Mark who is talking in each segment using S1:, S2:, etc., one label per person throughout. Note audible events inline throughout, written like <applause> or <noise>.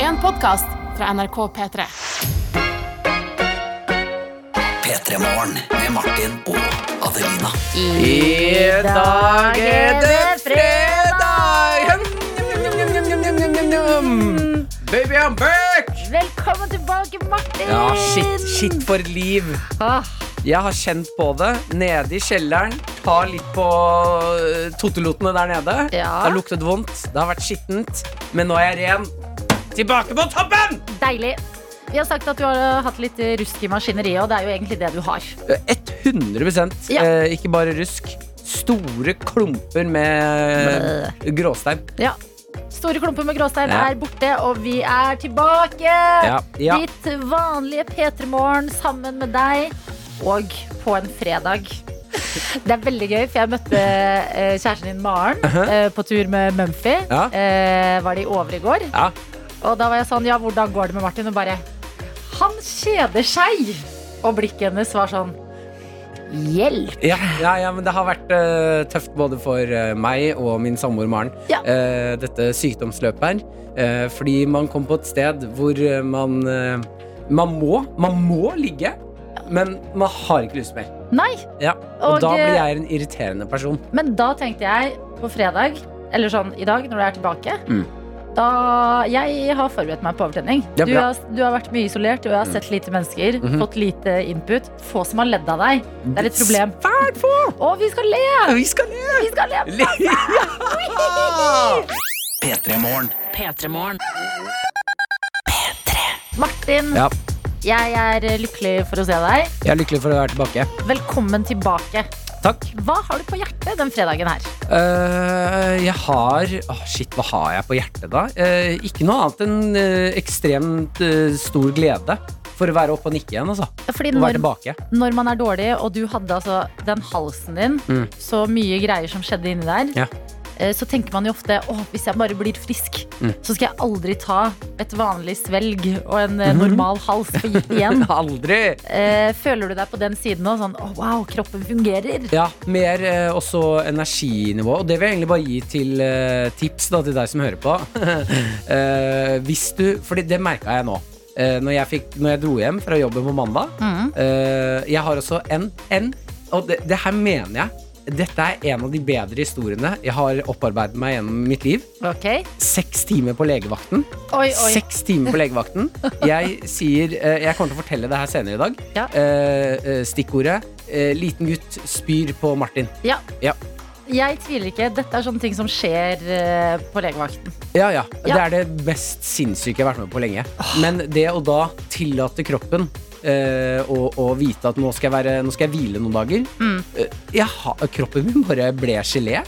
S1: en podkast fra NRK P3.
S2: P3 Morgen med Martin og Adelina.
S3: I dag er det fredag! Hum, hum, hum, hum, hum, hum, hum, hum. Baby, I'm back!
S4: Velkommen tilbake, Martin!
S3: Ja, shit, shit for liv.
S4: Ah,
S3: Jeg har kjent på det. Nede i kjelleren. Ta litt på eh, tottelotene der nede.
S4: Ja.
S3: Det har luktet vondt. Det har vært skittent. Men nå er jeg ren. Tilbake på toppen!
S4: deilig. Vi har sagt at du har eh, hatt litt rusk i maskineriet, og det er jo egentlig det du har.
S3: 100
S4: Ja.
S3: eh, Ikke bare rusk. Store klumper med gråstein.
S4: Ja. Store klumper med gråstein
S3: Ja.
S4: er borte, og vi er tilbake!
S3: Ja, ja.
S4: Ditt vanlige P3-morgen sammen med deg, og på en fredag. <laughs> Det er veldig gøy, for jeg møtte eh, kjæresten din Maren eh, på tur med Mumphy.
S3: Ja.
S4: Eh, var det i over i går?
S3: Ja.
S4: Og da var jeg sånn, ja, hvordan går det med Martin? Og bare, han kjeder seg! Og blikket hennes var sånn, hjelp!
S3: Ja, ja, ja, men det har vært eh, tøft både for eh, meg og min samboer Maren,
S4: Ja.
S3: eh, dette sykdomsløpet her. Eh, fordi man kom på et sted hvor eh, man eh, Man må, man må ligge, men man har ikke lyst mer.
S4: Nei!
S3: Ja, og,
S4: Og,
S3: da blir
S4: eh,
S3: jeg en irriterende person.
S4: Men da tenkte jeg på fredag, eller sånn i dag, når du er tilbake,
S3: Mm.
S4: da jeg har forberedt meg på overtenning.
S3: Det er
S4: Du
S3: bra. Mm.
S4: har, du har vært mye isolert, du har sett lite mennesker,
S3: Mhm.
S4: fått lite input. Få som har ledd av deg. Det er et problem.
S3: Svært få!
S4: Å, vi skal le!
S3: Vi skal le!
S4: Vi skal le!
S2: P3 Morgen.
S4: <laughs> Martin,
S3: Ja,
S4: jeg er lykkelig for å se deg.
S3: jeg er lykkelig for å være tilbake.
S4: Velkommen tilbake.
S3: Takk.
S4: Hva har du på hjertet den fredagen her?
S3: Eh, jeg har Åh, Shit, hva har jeg på hjertet, da? Eh, ikke noe annet enn eh, ekstremt eh, stor glede for å være oppe og nikke igjen, altså.
S4: Fordi
S3: Å være
S4: når,
S3: tilbake.
S4: når man er dårlig, og du hadde altså den halsen din,
S3: Mm.
S4: så mye greier som skjedde inni der,
S3: Ja.
S4: eh, så tenker man jo ofte åh, hvis jeg bare blir frisk,
S3: Mm.
S4: så skal jeg aldri ta et vanlig svelg og en
S3: Mhm.
S4: eh, normal hals for gitt igjen.
S3: <laughs> Aldri!
S4: Eh, Føler du deg på den siden nå? Sånn åh, wow, kroppen fungerer.
S3: Ja, mer eh, også energinivå. Og det vil jeg egentlig bare gi til eh, tips da, til deg som hører på. eh, hvis du Fordi det merka jeg nå. Eh, når, jeg fikk, når jeg dro hjem fra jobben på mandag.
S4: Mm.
S3: eh, jeg har også en, en Og det, det her mener jeg. Dette er en av de bedre historiene jeg har opparbeidet meg gjennom mitt liv.
S4: Ok.
S3: Seks timer på legevakten.
S4: Oi, oi.
S3: Seks timer på legevakten. Jeg sier eh, Jeg kommer til å fortelle det her senere i dag.
S4: Ja.
S3: Eh, eh, stikkordet eh, 'liten gutt spyr på Martin'.
S4: Ja.
S3: Ja.
S4: Jeg tviler ikke. Dette er sånne ting som skjer eh, på legevakten.
S3: Ja, ja. Det
S4: Ja.
S3: er det mest sinnssyke jeg har vært med på lenge. Men det å da tillate kroppen eh, å- å vite at nå skal jeg, være, nå skal jeg hvile noen dager
S4: Mm.
S3: eh, jeg ha, Kroppen min bare ble gelé.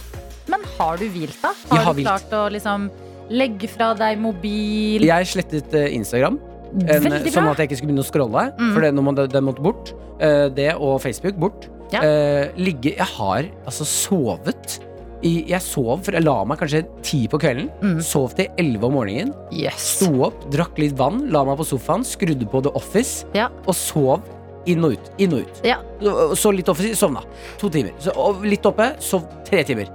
S4: Men har du hvilt, da? Har,
S3: Jeg har
S4: du
S3: hvilt.
S4: klart å liksom legge fra deg mobil?
S3: Jeg slettet eh, Instagram. En,
S4: Veldig
S3: sånn
S4: bra.
S3: at jeg ikke skulle begynne å scrolle.
S4: Mm.
S3: For det, når man, den måtte bort. Eh, det og Facebook bort.
S4: Ja.
S3: Eh, ligge Jeg har altså sovet. I, jeg sov, for jeg la meg kanskje ti på kvelden.
S4: Mm.
S3: Sov til elleve om morgenen.
S4: Yes.
S3: Sto opp, drakk litt vann, la meg på sofaen, skrudde på The Office
S4: Ja.
S3: og sov inn og ut. Inn og ut.
S4: Ja.
S3: Og Så litt Office, sovna. To timer. Så, og litt oppe, sov tre timer.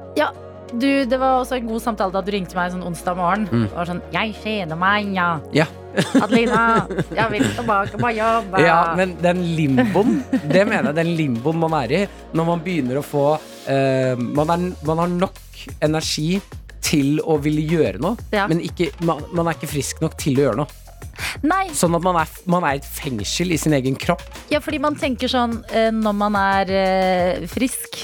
S4: Du, det var også en god samtale da du ringte meg sånn onsdag morgen.
S3: Mm.
S4: Det var sånn, jeg kjeder meg, ja.
S3: Ja.
S4: Adelina, jeg vil tilbake på jobb.
S3: Ja, men den limboen, det mener jeg, den limboen man er i når man begynner å få eh, man, er, man har nok energi til å ville gjøre noe,
S4: Ja.
S3: men ikke, man, man er ikke frisk nok til å gjøre noe.
S4: Nei,
S3: Sånn at man er, man er i et fengsel i sin egen kropp.
S4: ja, fordi man tenker sånn, eh, når man er eh, frisk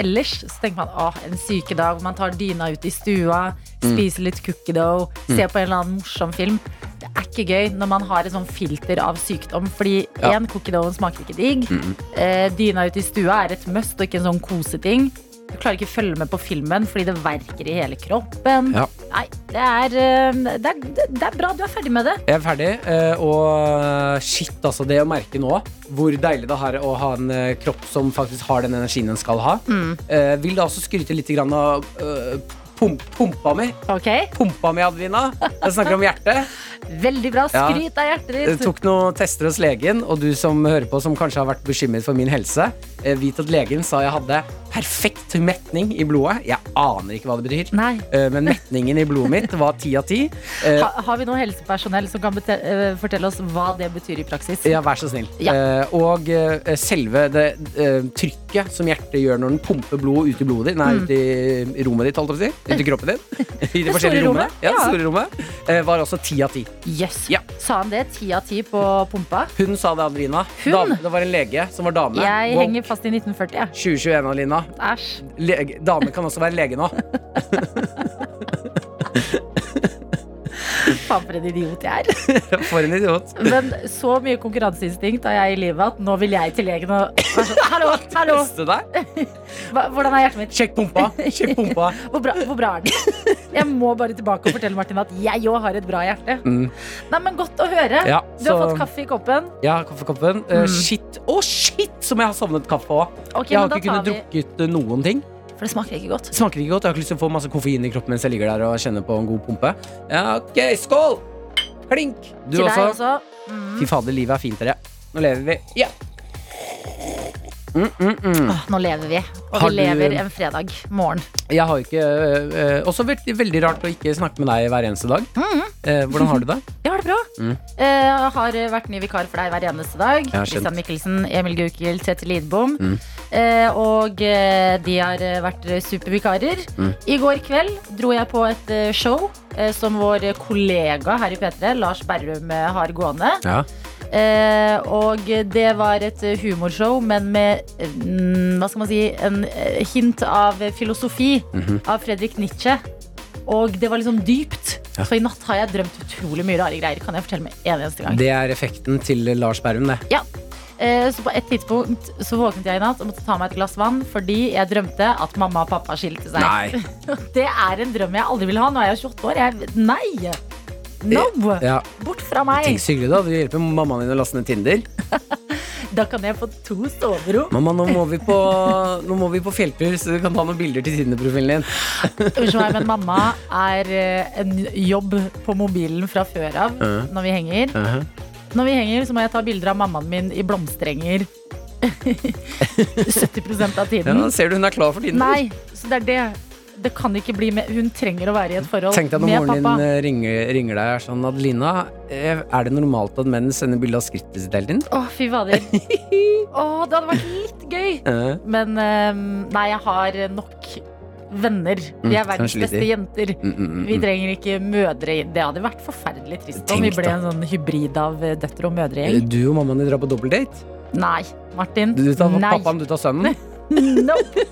S4: ellers, så tenker man, åh, en sykedag, man tar dyna ut i stua,
S3: Mm.
S4: spiser litt cookie dough, ser på en eller annen morsom film. Det er ikke gøy når man har et sånn filter av sykdom, fordi
S3: Ja. Mm.
S4: en, cookie doughen smaker ikke digg, eh, dyna ut i stua er et must og ikke en sånn koseting. Du klarer ikke å følge med på filmen fordi det verker i hele kroppen.
S3: Ja.
S4: Nei, det er, eh, det, er, det- det er bra du er ferdig med det.
S3: Jeg er ferdig, eh, og shit, altså, det å merke nå hvor deilig det er å ha en eh, kropp som faktisk har den energien den skal ha.
S4: Mm.
S3: Eh, Vil da også skryte litt grann av eh, pump, pumpa mi.
S4: Ok?
S3: Pumpa mi, Adelina. Jeg snakker om hjertet.
S4: Veldig bra.
S3: Ja.
S4: Skryt av hjertet
S3: Jeg
S4: ditt.
S3: Eh, tok noen tester hos legen, og du som hører på som kanskje har vært bekymret for min helse, eh, vit at legen sa jeg hadde perfekt metning i blodet. Jeg aner ikke hva det betyr,
S4: Nei.
S3: eh, men metningen i blodet mitt var ti av ti. Eh,
S4: Ha, har vi noe helsepersonell som kan bete- eh, fortelle oss hva det betyr i praksis?
S3: Ja, vær så snill.
S4: Ja.
S3: Eh, og eh, selve det eh, trykket som hjertet gjør når den pumper blod ut i blodet ditt, nei, ut i rommet ditt, holdt jeg på å si, ut i kroppen din, i de
S4: Mm. <laughs> Det
S3: forskjellige rommene,
S4: store rommet,
S3: ja, det
S4: ja.
S3: store rommet, eh, var også ti av ti.
S4: Yes.
S3: Ja.
S4: Sa han det? Ti av ti på pumpa?
S3: Hun sa det, Adelina.
S4: Hun?
S3: Dame, det var en lege som var dame.
S4: Jeg
S3: Woke.
S4: henger fast i 1940, jeg.
S3: 2021, Adelina.
S4: Æsj.
S3: Lege, dame kan også være
S4: <laughs>
S3: lege nå.
S4: Faen for en idiot jeg er.
S3: For en idiot.
S4: Men så mye konkurranseinstinkt har jeg i livet at nå vil jeg til legen og være sånn, Hallo, hallo!
S3: Teste deg.
S4: Hva, hvordan er hjertet mitt?
S3: Sjekk pumpa. Sjekk pumpa.
S4: Hvor bra, hvor bra er den? Jeg må bare tilbake og fortelle Martin at jeg òg har et bra hjerte.
S3: Mm.
S4: Nei, men Godt å høre.
S3: Ja,
S4: Du har
S3: så-
S4: fått kaffe i koppen.
S3: Ja, kaffekoppen. Eh, shit. Å, shit, som jeg har savnet kaffe òg.
S4: Mm. Ok,
S3: Jeg har
S4: men da
S3: ikke kunnet
S4: tar vi
S3: drukket eh, noen ting.
S4: For det smaker ikke godt.
S3: Det smaker ikke godt. Jeg har ikke lyst til å få masse koffein i kroppen mens jeg ligger der og kjenner på en god pumpe. Ja, ok, skål! Klink! Du
S4: til
S3: også.
S4: deg også. Mm.
S3: Fy fader, livet er fint, dere. Nå lever vi. Ja. Mm, mm, mm.
S4: Åh, nå lever vi. Og
S3: Har
S4: vi
S3: du-
S4: lever en fredag morgen.
S3: Jeg har jo ikke øh, øh, Også veldig, veldig rart å ikke snakke med deg hver eneste dag. Eh, hvordan har du det?
S4: Mm-hmm. Jeg har det bra.
S3: Mm.
S4: Eh, har vært ny vikar for deg hver eneste dag.
S3: har Mm. skjønt.
S4: Christian Mikkelsen, Emil Gukild, Tete Lidbom. Eh, og eh, de har eh, vært supervikarer.
S3: Mm.
S4: I går kveld dro jeg på et eh, show eh, som vår kollega her i P3, Lars Berrum, eh, har gående.
S3: Ja.
S4: Eh, og det var et eh, humorshow, men med eh, mm, hva skal man si, en eh, hint av filosofi
S3: Mhm.
S4: av Fredrik Nietzsche. Og det var liksom dypt.
S3: Ja.
S4: Så i natt har jeg drømt utrolig mye rare greier. Kan jeg fortelle med en eneste gang
S3: Det er effekten til Lars Berrum, det.
S4: ja. Eh, Så på et tidspunkt så våknet jeg i natt og måtte ta meg et glass vann fordi jeg drømte at mamma og pappa skilte seg.
S3: Nei.
S4: <laughs> Det er en drøm jeg aldri vil ha. Nå er jeg 28 år. Jeg, nei! No!
S3: Ja.
S4: Bort fra meg!
S3: Eh. Tenk så hyggelig, da. Du hjelper mammaen din å laste ned Tinder.
S4: Da kan jeg få to soverom.
S3: Mamma, nå må vi på, nå må vi på fjelltur, så du kan ta noen bilder til Tinder-profilen din.
S4: Unnskyld meg, men mamma er eh, en jobb på mobilen fra før av når vi
S3: <laughs>
S4: henger.
S3: Mhm.
S4: Når vi henger, så må jeg ta bilder av mammaen min i
S3: <laughs>
S4: blomsterenger 70 av
S3: Ja,
S4: tiden.
S3: ser du hun er klar for Tinder.
S4: Nei, så det er det. Det kan ikke bli med. Hun trenger å være i et forhold
S3: Tenk deg når
S4: med
S3: moren
S4: pappa.
S3: din eh, ringer, ringer deg og er sånn Adelina, eh, er det normalt at menn sender bilde av skrittet sitt hele tiden?
S4: Å, fy
S3: <laughs>
S4: fader. Å, det hadde vært litt gøy.
S3: Eh,
S4: Men eh, nei, jeg har nok venner. Vi er
S3: Mm,
S4: verdens
S3: kanskje litt
S4: beste
S3: i.
S4: jenter.
S3: mm, mm, mm.
S4: Vi trenger ikke mødre Det hadde vært forferdelig trist om vi
S3: Tenk
S4: ble
S3: da.
S4: en sånn hybrid av eh, døtre og mødre.
S3: Eh, Du og mammaen din drar på dobbeltdate?
S4: Nei, Martin.
S3: Du tar
S4: nei.
S3: pappaen, du tar sønnen?
S4: Nope.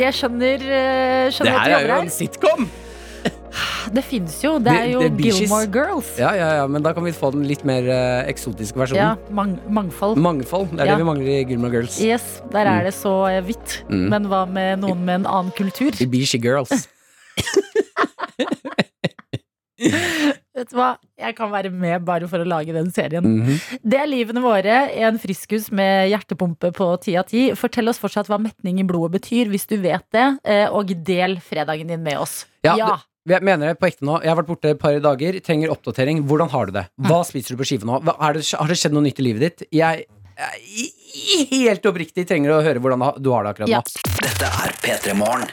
S4: Jeg skjønner, eh,
S3: Det
S4: skjønner at
S3: her
S4: du
S3: er
S4: jobber
S3: jo
S4: her.
S3: en sitcom!
S4: <sighs> Det fins jo. Det
S3: Det-
S4: er jo
S3: det er bitches.
S4: Gilmore Girls.
S3: Ja, ja, ja, men da kan vi få den litt mer eh, eksotiske
S4: Ja,
S3: versjonen.
S4: mang mangfold.
S3: Mangfold. Det er
S4: Ja.
S3: det vi mangler i Gilmore Girls.
S4: Yes, der er det så eh, hvitt.
S3: Mm.
S4: Men hva med noen med en annen kultur?
S3: I Beachy Girls.
S4: Vet du hva? Jeg kan være med bare for å lage den serien.
S3: Mhm.
S4: Det er livene våre. En friskus med hjertepumpe på ti av ti. Fortell oss fortsatt hva metning i blodet betyr, hvis du vet det. eh, Og del fredagen din med oss.
S3: Ja, Jeg mener det på ekte nå. Jeg har vært borte et par dager. Trenger oppdatering. Hvordan har du det?
S4: Ah.
S3: Hva spiser du på skive nå? Hva, er det, har det skjedd noe nytt i livet ditt? Jeg, jeg i- helt oppriktig trenger å høre hvordan du har det akkurat
S4: Ja.
S3: nå.
S2: Dette er P3 Morgen.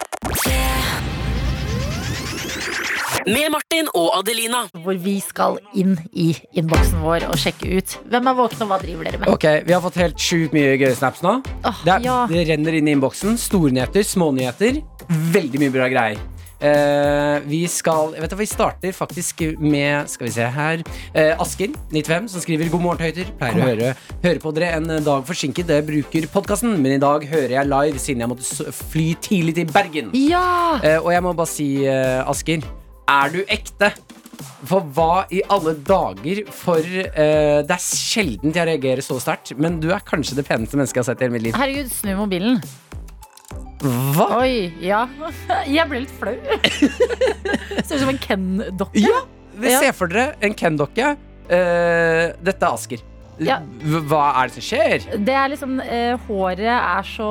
S5: Med Martin og Adelina.
S4: Hvor vi skal inn i innboksen vår og sjekke ut hvem er våken, og hva driver dere med.
S3: Ok, Vi har fått helt sjukt mye gøye snaps nå.
S4: Åh,
S3: Det, er,
S4: ja.
S3: det renner inn i innboksen. Stornyheter, smånyheter. Veldig mye bra greier. Eh, vi skal vet du, hva, Vi starter faktisk med Skal vi se her eh, Asker, 95, som skriver God morgen, Tøyter. Pleier å høre, høre på dere en dag forsinket. Jeg bruker podkasten, men i dag hører jeg live siden jeg måtte s- fly tidlig til Bergen.
S4: Ja!
S3: Eh, og jeg må bare si, eh, Asker, er du ekte? For hva i alle dager for eh, Det er sjelden jeg reagerer så sterkt, men du er kanskje det peneste mennesket jeg har sett i hele mitt liv.
S4: Herregud, snu mobilen.
S3: Hva?
S4: Oi, ja. <laughs> Jeg ble litt flau. Ser ut som en Ken-dokke.
S3: Ja!
S4: Ja.
S3: Se for dere en Ken-dokke. Eh, dette er Asker.
S4: Ja.
S3: Hva hva er det som skjer?
S4: Det er liksom eh, Håret er så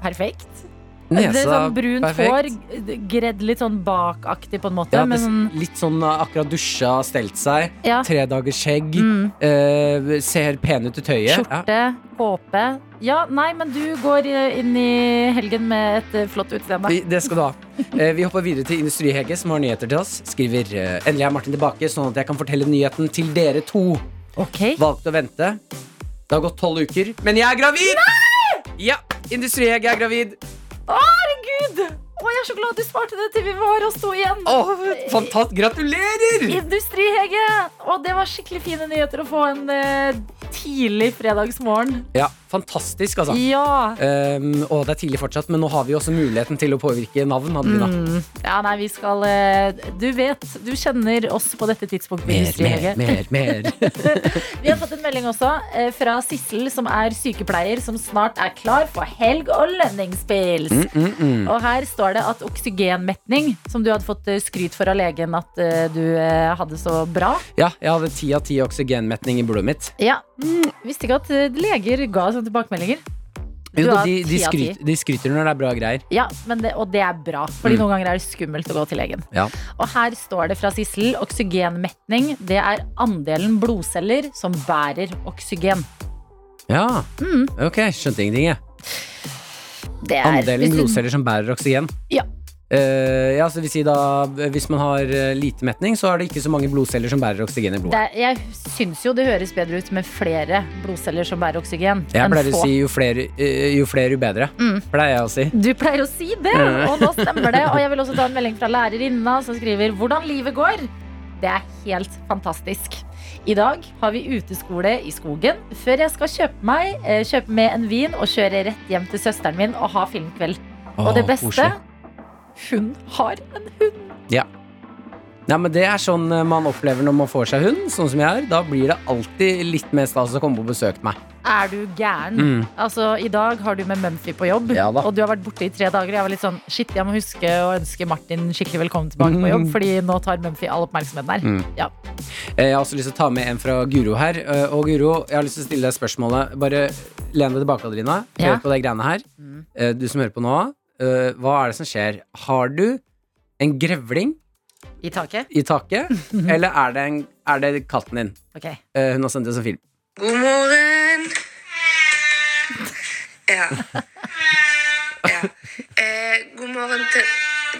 S4: perfekt. det er sånn brunt
S3: perfekt.
S4: hår, g- gredd litt sånn bakaktig på en måte.
S3: Ja, det,
S4: men sånn,
S3: litt sånn uh, akkurat dusja, stelt seg.
S4: ja,
S3: Tre dagers skjegg.
S4: Mm.
S3: eh, ser pen ut i tøyet. Ja.
S4: skjorte, kåpe. Ja, nei, men du går eh, inn i helgen med et eh, flott utseende.
S3: Vi- Det skal du ha. Eh, Vi hopper videre til Industrihege, som har nyheter til oss. Skriver eh, endelig er Martin tilbake, sånn at jeg kan fortelle nyheten til dere to.
S4: Ok.
S3: Valgte å vente. Det har gått tolv uker, men jeg er gravid! Ja, Industrihege er gravid.
S4: Å, herregud! Å, jeg er så glad du svarte det til vi var oss to igjen.
S3: Åh, fantast. Gratulerer!
S4: Industrihege! Og det var skikkelig fine nyheter å få en eh, tidlig fredagsmorgen.
S3: Ja, fantastisk, altså.
S4: Ja.
S3: Um, og det er tidlig fortsatt, men nå har vi også muligheten til å påvirke navn. Adelina.
S4: Mm. Ja, nei, vi skal eh, Du vet, du kjenner oss på dette tidspunktet.
S3: Mer, mer,
S4: Industrihege.
S3: mer. mer.
S4: <laughs> Vi har fått en melding også eh, fra Sissel, som er sykepleier, som snart er klar for helg og lønningspils.
S3: Mm, mm.
S4: Og her står det at oksygenmetning, som du hadde fått eh, skryt for av legen at eh, du eh, hadde så bra
S3: Ja, jeg hadde ti av ti oksygenmetning i blodet mitt.
S4: Ja, Visste ikke at eh, leger ga sånne tilbakemeldinger. Du
S3: Jo, da,
S4: har
S3: de, de,
S4: 10 av 10.
S3: skryter, de skryter når det er bra greier.
S4: Ja, men det, Og det er bra, Fordi
S3: Mm.
S4: noen ganger er det skummelt å gå til legen.
S3: Ja.
S4: Og her står det fra Sissel oksygenmetning det er andelen blodceller som bærer oksygen.
S3: ja. Ok, skjønte ingenting, jeg.
S4: Det Mm. er, hvis
S3: Andelen
S4: du-
S3: blodceller som bærer oksygen.
S4: Ja.
S3: Eh, ja, så det vil si da, Hvis man har eh, lite metning, så er det ikke så mange blodceller som bærer oksygen i
S4: Det
S3: blodet.
S4: er, jeg syns jo det høres bedre ut med flere blodceller som bærer oksygen.
S3: Jeg
S4: enn
S3: pleier å
S4: få.
S3: si jo flere, eh, jo, flere, jo bedre.
S4: Mm.
S3: Pleier jeg å si.
S4: Du pleier å si det,
S3: Ja.
S4: og nå stemmer det. Og jeg vil også ta en melding fra lærerinna som skriver hvordan livet går. Det er helt fantastisk. I dag har vi uteskole i skogen før jeg skal kjøpe, meg, eh, kjøpe med en vin og kjøre rett hjem til søsteren min og ha filmkveld. Og det
S3: Åh,
S4: beste
S3: koselig.
S4: Hun har en hund.
S3: Nei, men Det er sånn eh, man opplever når man får seg hund, sånn som jeg er. Da blir det alltid litt mer stas å komme på besøk til meg.
S4: Er du gæren?
S3: Mm.
S4: Altså, I dag har du med Mumphy på jobb,
S3: Ja da.
S4: og du har vært borte i tre dager. Jeg var litt sånn, shit, jeg må huske å ønske Martin skikkelig velkommen tilbake på jobb,
S3: Mm.
S4: fordi nå tar Mumphy all oppmerksomheten her.
S3: Mm.
S4: Ja.
S3: Eh, Jeg har også lyst til å ta med en fra Guro her. Eh, Og Guro, jeg har lyst til å stille deg spørsmålet. Bare len deg tilbake, Adelina. Hør
S4: Ja.
S3: på de greiene her.
S4: Mm.
S3: Eh, Du som hører på nå, eh, hva er det som skjer? Har du en grevling
S4: I taket?
S3: i
S4: <laughs>
S3: taket, eller er det, en, er det katten din?
S4: Ok.
S3: Eh, Hun har sendt oss en film.
S6: God morgen! Ja. ja. Eh, god morgen til,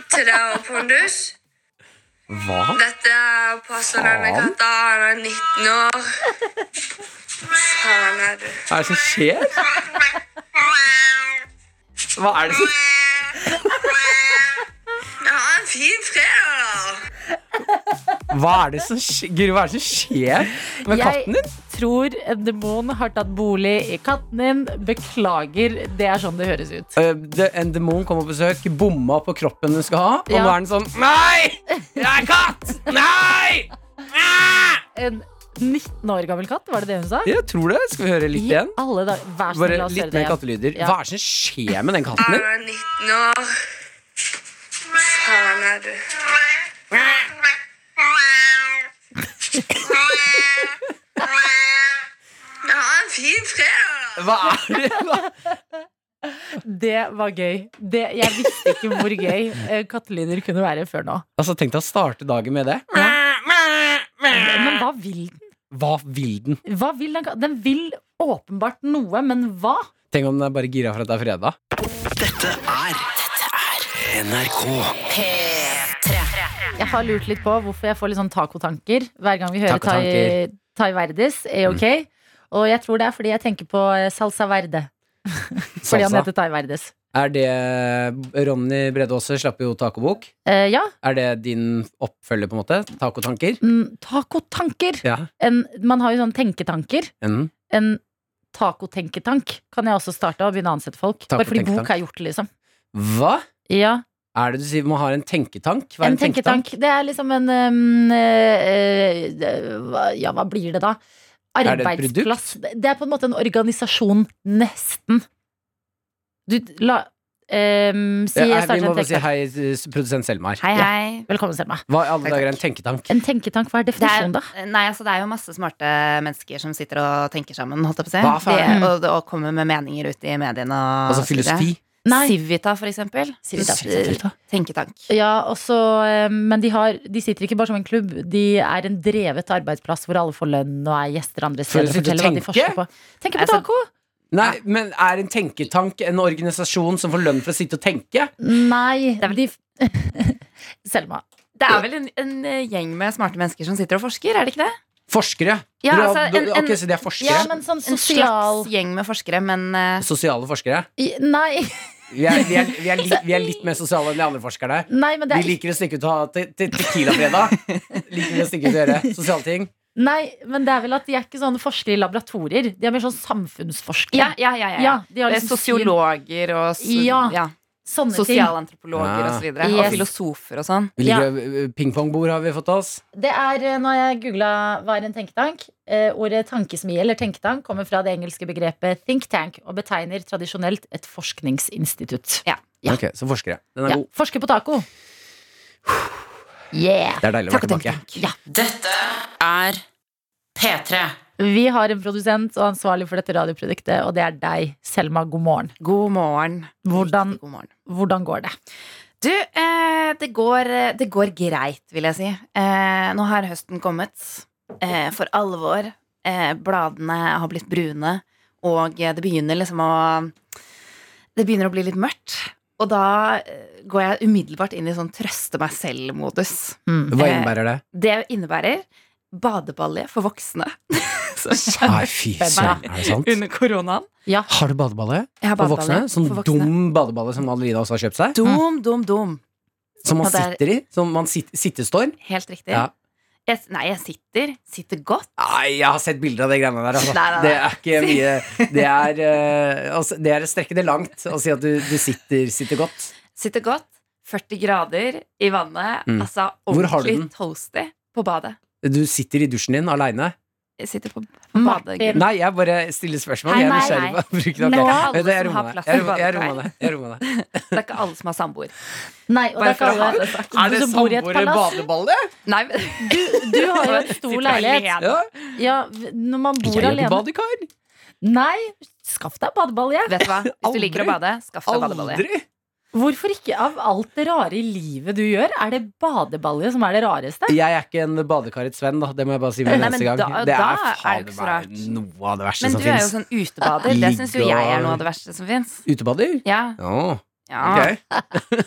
S6: til deg og Pondus.
S3: Hva?
S6: Dette er passer denne
S3: Faen.
S6: katta. Han er 19 år. Faen er du.
S3: Hva er det som skjer? Hva er det som
S6: Ja, en fin fredag, da.
S3: Hva er det som skjer? Guri, hva er det som skjer med katten din?
S4: Jeg tror en demon har tatt bolig i katten din. Beklager, det er sånn det høres ut.
S3: Eh, det- En demon kom på besøk, bomma på kroppen hun skal ha, og
S4: Ja.
S3: nå er den sånn Nei! Det er katt! Nei! Ah!
S4: En 19 år gammel katt, var det det hun sa?
S3: Jeg tror det. Skal vi høre litt igjen?
S4: I alle dager. Vær så snill,
S3: Bare
S4: la oss
S3: litt
S4: høre det
S3: mer
S4: igjen.
S3: kattelyder.
S4: Ja.
S3: Hva er det som skjer med den katten din?
S6: Han er 19 år. Faen er du.
S3: <laughs>
S6: Ja, en fin fredag, da.
S3: Hva er Ah, <laughs> det? Hva?
S4: Det var gøy. Det, jeg visste ikke hvor gøy eh, kattelyder kunne være før nå.
S3: Altså, Tenk deg å starte dagen med det.
S4: Men hva vil den?
S3: Hva vil den?
S4: Hva vil den? ka- Den vil åpenbart noe, men hva?
S3: Tenk om den er bare gira for at det er fredag.
S2: Dette er Dette er NRK.
S4: Jeg har lurt litt på hvorfor jeg får litt sånn tacotanker hver gang vi hører Tai
S3: Tacotanker. Mm.
S4: Tai Verdes. Er ok? Og jeg tror det er fordi jeg tenker på eh, Salsa Verde. <laughs> Fordi han
S3: Salsa.
S4: heter Tai Verdes.
S3: Er det Ronny Brede Aase slapp jo tacobok.
S4: Eh, ja.
S3: Er det din oppfølger, på en måte? Tacotanker?
S4: Mm, tacotanker.
S3: Ja.
S4: En, man har jo sånn tenketanker.
S3: Mm.
S4: En tacotenketank kan jeg også starte og begynne å ansette folk. Bare fordi
S3: Tacotenketank.
S4: bok er gjort, liksom.
S3: Hva
S4: Ja.
S3: er det du sier? Man har en tenketank? Hva er
S4: En tenketank. Det er liksom en um, eh, eh, hva- Ja, hva blir det da?
S3: Er det et produkt?
S4: Arbeidsplass. Det, det er på en måte en organisasjon. Nesten. Du, la em, Si
S3: Ja,
S4: jeg
S3: her, vi
S4: starter
S3: må
S4: en
S3: bare si
S4: tenketank.
S3: hei, s- produsent Selmar.
S7: Hei,
S4: Ja.
S7: hei.
S4: Velkommen, Selma.
S3: Hva i alle
S7: Hei,
S3: dager er en
S7: takk.
S3: tenketank?
S4: En tenketank, hva er
S7: Det er,
S4: definisjonen, da?
S7: nei, altså det er jo masse smarte mennesker som sitter og tenker sammen, holdt jeg på å si.
S3: Hva faen?
S7: De- og, og kommer med meninger ut i mediene. Og,
S3: Altså
S7: så videre.
S3: filosofi?
S4: Nei.
S7: Civita, for eksempel.
S4: Civita.
S7: Eh, Tenketank.
S4: Ja, og så, eh, men de, har, de sitter ikke bare som en klubb. De er en drevet arbeidsplass hvor alle får lønn og er gjester andre
S3: For å
S4: steder. og
S3: sitte og
S4: forteller hva de
S3: tenke?
S4: forsker på. Tenker på
S7: Altså,
S4: taco!
S3: Nei, men er en tenketank en organisasjon som får lønn for å sitte og tenke?
S4: Nei,
S7: er vel-
S4: de <laughs> Selma.
S7: Det er vel en, en eh, gjeng med smarte mennesker som sitter og forsker, er det ikke det?
S3: Forskere?
S7: Ja,
S3: Dere har-
S7: altså, en-
S3: dere- ok,
S7: en-
S3: så de er forskere?
S4: Ja, men sånn
S7: En
S4: sosial
S7: slags gjeng med forskere, men eh,
S3: Sosiale forskere?
S4: I- Nei,
S3: Vi er, vi, er, vi, er litt, vi er litt mer sosiale enn de andre forskerne.
S4: nei men det
S3: Vi
S4: er
S3: liker å stikke ut og ha te- te- Tequila-fredag. Liker vi å stikke ut og gjøre sosiale ting.
S4: Nei, men det er vel at de er ikke sånne forskere i laboratorier. De er mer sånn samfunnsforskere.
S7: ja, ja, ja, ja.
S4: Ja, de har
S7: Det er
S4: liksom
S7: sosiologer og s-
S4: Ja.
S7: ja,
S4: Sånne ting.
S7: sosialantropologer
S3: Ja.
S7: og så videre.
S4: Yes.
S7: Og filosofer og sånn.
S3: Vi
S4: Ja.
S3: liker eh, Pingpongbord har vi fått oss.
S4: Det er, eh, når jeg googlet hva er en tenketank eh, Ordet tankesmi eller tenketank kommer fra det engelske begrepet think tank og betegner tradisjonelt et forskningsinstitutt. Ja.
S3: Ok, Så forskere. Den er
S4: Ja.
S3: god.
S4: Forsker på taco. Yeah.
S3: Det er deilig å være
S7: Takk og
S3: tilbake.
S4: Ja.
S5: Dette er P3.
S4: Vi har en produsent og ansvarlig for dette radioproduktet, og det er deg, Selma. God morgen.
S7: God morgen.
S4: Hvordan,
S7: Riktig God morgen.
S4: hvordan går det?
S7: Du, eh, det, går, det går greit, vil jeg si. Eh, nå har høsten kommet eh, for alvor. Eh, bladene har blitt brune, og eh, det begynner liksom å Det begynner å bli litt mørkt. Og da eh, går jeg umiddelbart inn i sånn trøste meg selv-modus.
S3: Mm.
S7: Eh,
S3: Hva innebærer det?
S7: Det innebærer badebalje for voksne. <laughs> Så
S3: Nei, fy søren, er det sant?
S7: under koronaen.
S4: Ja.
S3: Har du badeballe?
S7: Jeg har
S3: For
S7: badebalje
S3: voksne? Sånn
S7: for voksne.
S3: dum badeballe som Adelina også har kjøpt
S4: Mm.
S3: seg?
S7: Dum, dum, dum.
S3: Som man
S7: Og det er-
S3: sitter i? Som man sit, sittestår?
S7: Helt riktig.
S3: Ja.
S7: Jeg, nei, jeg sitter. Sitter godt.
S3: Nei, jeg har sett bilder av de greiene der. Altså.
S7: Nei, nei, nei.
S3: Det er ikke mye Det er, eh, altså, det er å strekke det langt å si at du, du sitter, sitter godt.
S7: Sitter godt. 40 grader i vannet.
S3: Mm.
S7: Altså
S3: Hvor har du den?
S7: ordentlig toasty på badet.
S3: Du sitter i dusjen din aleine.
S7: Jeg sitter på, på badet.
S4: Martin,
S3: Nei, jeg bare stiller spørsmål.
S7: Nei,
S3: jeg er
S7: nei,
S3: nysgjerrig på å
S7: nei.
S3: bruke det.
S7: Nå-
S3: Ok,
S7: Alle
S3: det er
S7: som har
S3: rommet.
S7: plass
S3: Jeg
S7: til
S3: rommet- jeg
S7: badekar.
S3: rommet det. Jeg rommet det.
S7: Det er ikke alle som har samboer.
S4: <laughs> nei,
S7: Bare for
S4: og det er ikke
S7: å ha
S4: alle
S7: det sagt.
S4: du som bor i et palass.
S3: badeballe?
S7: Nei, men
S4: Du har jo en stor
S7: Sitter
S4: leilighet.
S3: Ja.
S7: alene.
S4: Ja, v- når man
S3: Jeg
S4: bor
S3: er på
S4: alene
S3: badekar.
S4: Nei, skaff deg badebalje.
S7: Vet du hva? Hvis du
S3: Aldri.
S7: liker å bade, skaff deg badebalje.
S3: Aldri.
S4: Hvorfor ikke? Av alt det rare i livet du gjør, er det badebalje som er det rareste?
S3: Jeg er ikke en badekarets venn, da. Det må jeg bare si med
S7: Nei,
S3: neste gang.
S7: men da-
S3: det
S7: da
S3: er
S7: er
S3: faen
S7: det ikke så
S3: meg
S7: rart.
S3: noe av det verste
S7: Men
S3: som
S7: du er jo
S3: fins.
S7: sånn utebader. Det syns jo
S3: Ligge
S7: jeg er
S3: og-
S7: noe av det verste som fins.
S3: Utebader?
S7: Ja,
S3: Ja,
S7: ja.
S3: ok.